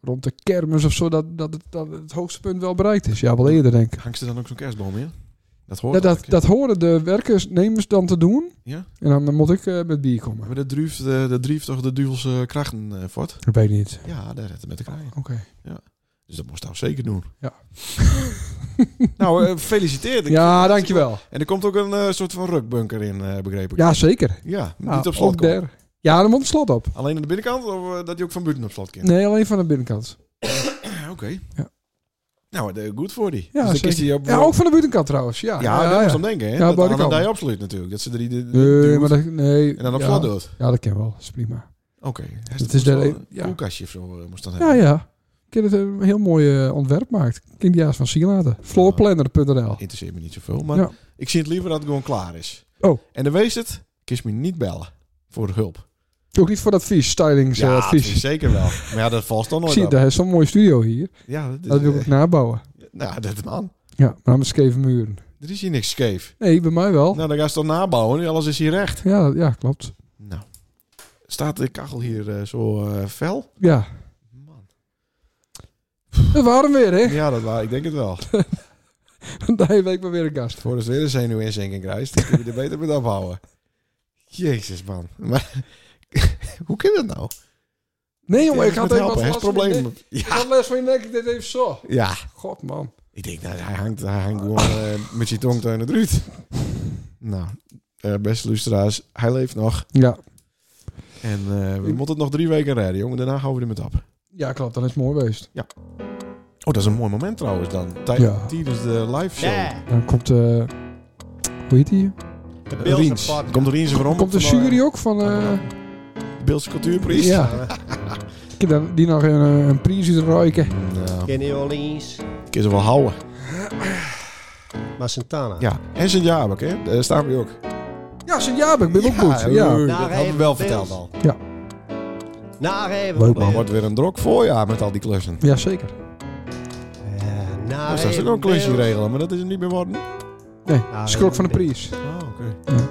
rond de kermis of zo dat, dat, het, dat het hoogste punt wel bereikt is. Ja, wel eerder denk ik. Nou,
Hangt er dan ook zo'n kerstboom in? Dat hoort
Dat, dat,
eigenlijk,
dat horen de werkersnemers dan te doen.
Ja.
En dan moet ik eh, met bier
hè?
komen.
Maar dat druift, eh, dat druift toch de duivelse krachten eh, voort?
Dat weet ik niet.
Ja, daar redden met de kraaien.
Oké.
Dus dat moest hij zeker doen.
Ja.
nou, eh, gefeliciteerd. Ik-
Ja, dankjewel.
En er komt ook een eh, soort van rukbunker in, eh, begreep ik.
Ja, zeker.
Ja,
Nou,
niet op
ook
slot komt.
daar. Ja, dan moet het slot op.
Alleen aan de binnenkant of eh, dat je ook van buiten op slot kan?
Nee, alleen van de binnenkant.
Oké.
Ja.
Nou, de- goed voor die.
Ja,
dus dan is
zeker.
die op,
Ja, ook van de buitenkant trouwens. Ja,
ja, daar moest aan denken, hè?
Ja,
dat
wou
aan
ik al.
die absoluut natuurlijk. Dat ze er die, die- die
Nee,
duwt
maar dat, nee.
en dan op
ja.
slot doet.
Ja, dat ken wel. Dat is prima.
Oké. Hij
Het
staat
is
op
daar
zo'n
een- ja.
Koelkastje of zo eh, moest dan
Ja,
hebben.
ja. Ik heb het een heel mooi eh, ontwerp gemaakt. Kindia's van Sielaten. Floorplanner.nl
Interesseert me niet zoveel, maar
Ja.
ik zie het liever dat het gewoon klaar is.
Oh.
En dan wees het, kies me niet bellen voor hulp.
Ook niet voor advies,
dat
stylingsadvies.
vind ik zeker wel. Maar ja, dat valt dan
ik
nooit
eh, zie,
op.
daar is zo'n mooie studio hier.
Ja, dat is,
Dat wil ik nabouwen.
eh, nou, dat man.
Ja, maar dan met scheve muren.
Er is hier niks scheef.
Nee, bij mij wel.
Nou, dan ga je dan nabouwen. Alles is hier recht.
Ja, ja klopt.
Nou, staat de kachel hier eh, zo eh, fel?
Ja,
Man.
dat waren we weer, hè?
Ja, dat waar. Ik denk het wel.
Daar week maar weer een gast.
Voor het weer een zenuwinzinking krijgt, dan kun je er beter met afhouden. Jezus, man. Maar hoe kan dat nou?
Nee, jongen, ik
Ergens
had
met
even wat
helpen, hè,
last
is
van
het
je
probleem.
nek. Ik had last van je nek, ik deed even zo.
Ja,
God, man.
ik denk, nou, hij hangt, hij hangt gewoon eh, met zijn tong tegen de druut. Nou, eh, beste luisteraars, hij leeft nog.
Ja.
En eh, we moeten het nog drie weken rijden, jongen. Daarna gaan we er met op.
Ja, klopt. Dat is mooi geweest.
Oh, dat is een mooi moment trouwens dan. Tij-
Ja.
Tijdens de live show.
Ja,
Dan komt... eh hoe heet die?
de
Eh,
Beelse
Riens.
podcast.
Komt er Riens waarom?
Komt de jury ook van... eh,
Beeldse cultuurprijs.
ja. Ik heb daar- die nog een, eh, een prijs uit ruiken.
Nou,
Kenny Orleans,
ik kan ze wel houden.
maar Santana.
Ja. En Sint-Jabek, hè? Daar staan we ook.
Ja, Sint-Jaap, ik ben ook goed. Ja.
leuk.
Daar
Dat hadden
even
we wel
Beels.
verteld al.
Naar even.
Leuk,
Maar
man.
wordt weer een drok voorjaar met al die klussen.
ja, zeker.
Ja, naar
Dus dat is ook
Eh, even
nog een klusje
Beels.
regelen, maar dat is het niet meer worden.
Nee,
Ah,
schrok van de
nee.
prijs.
Oh, oké.
Ja.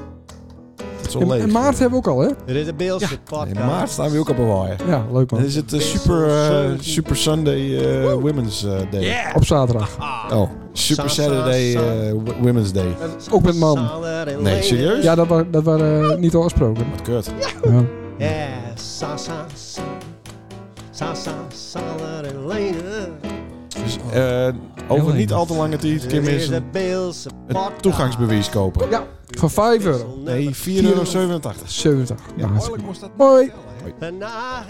Dat is wel
En,
leuk.
en Maart hebben we ook al, hè?
Dit is de Beelse podcast.
In maart staan we ook op een waaier.
Ja, leuk
Dan
man.
is het eh, super, eh,
17.
super Sunday eh, Women's eh, Day.
Op zaterdag.
Oh, Super
Sa- sa-
Saturday
sa-
eh, w- Women's Day.
Ook met man.
Sander en
Nee,
Lene.
serieus?
Ja, dat was dat was, eh, niet al gesproken.
Wat kut.
Ja.
Ja, sa sa sa. Sa sa Sander en Lene.
Dus, eh, over niet al te lange tijd kun
Dit
je
is de
mensen
Beelse
het
podcast.
toegangsbewijs kopen.
ja, voor 5 euro.
Nee, 4,87 euro.
70.
Ja,
Nou,
eigenlijk
Hoi.
Naar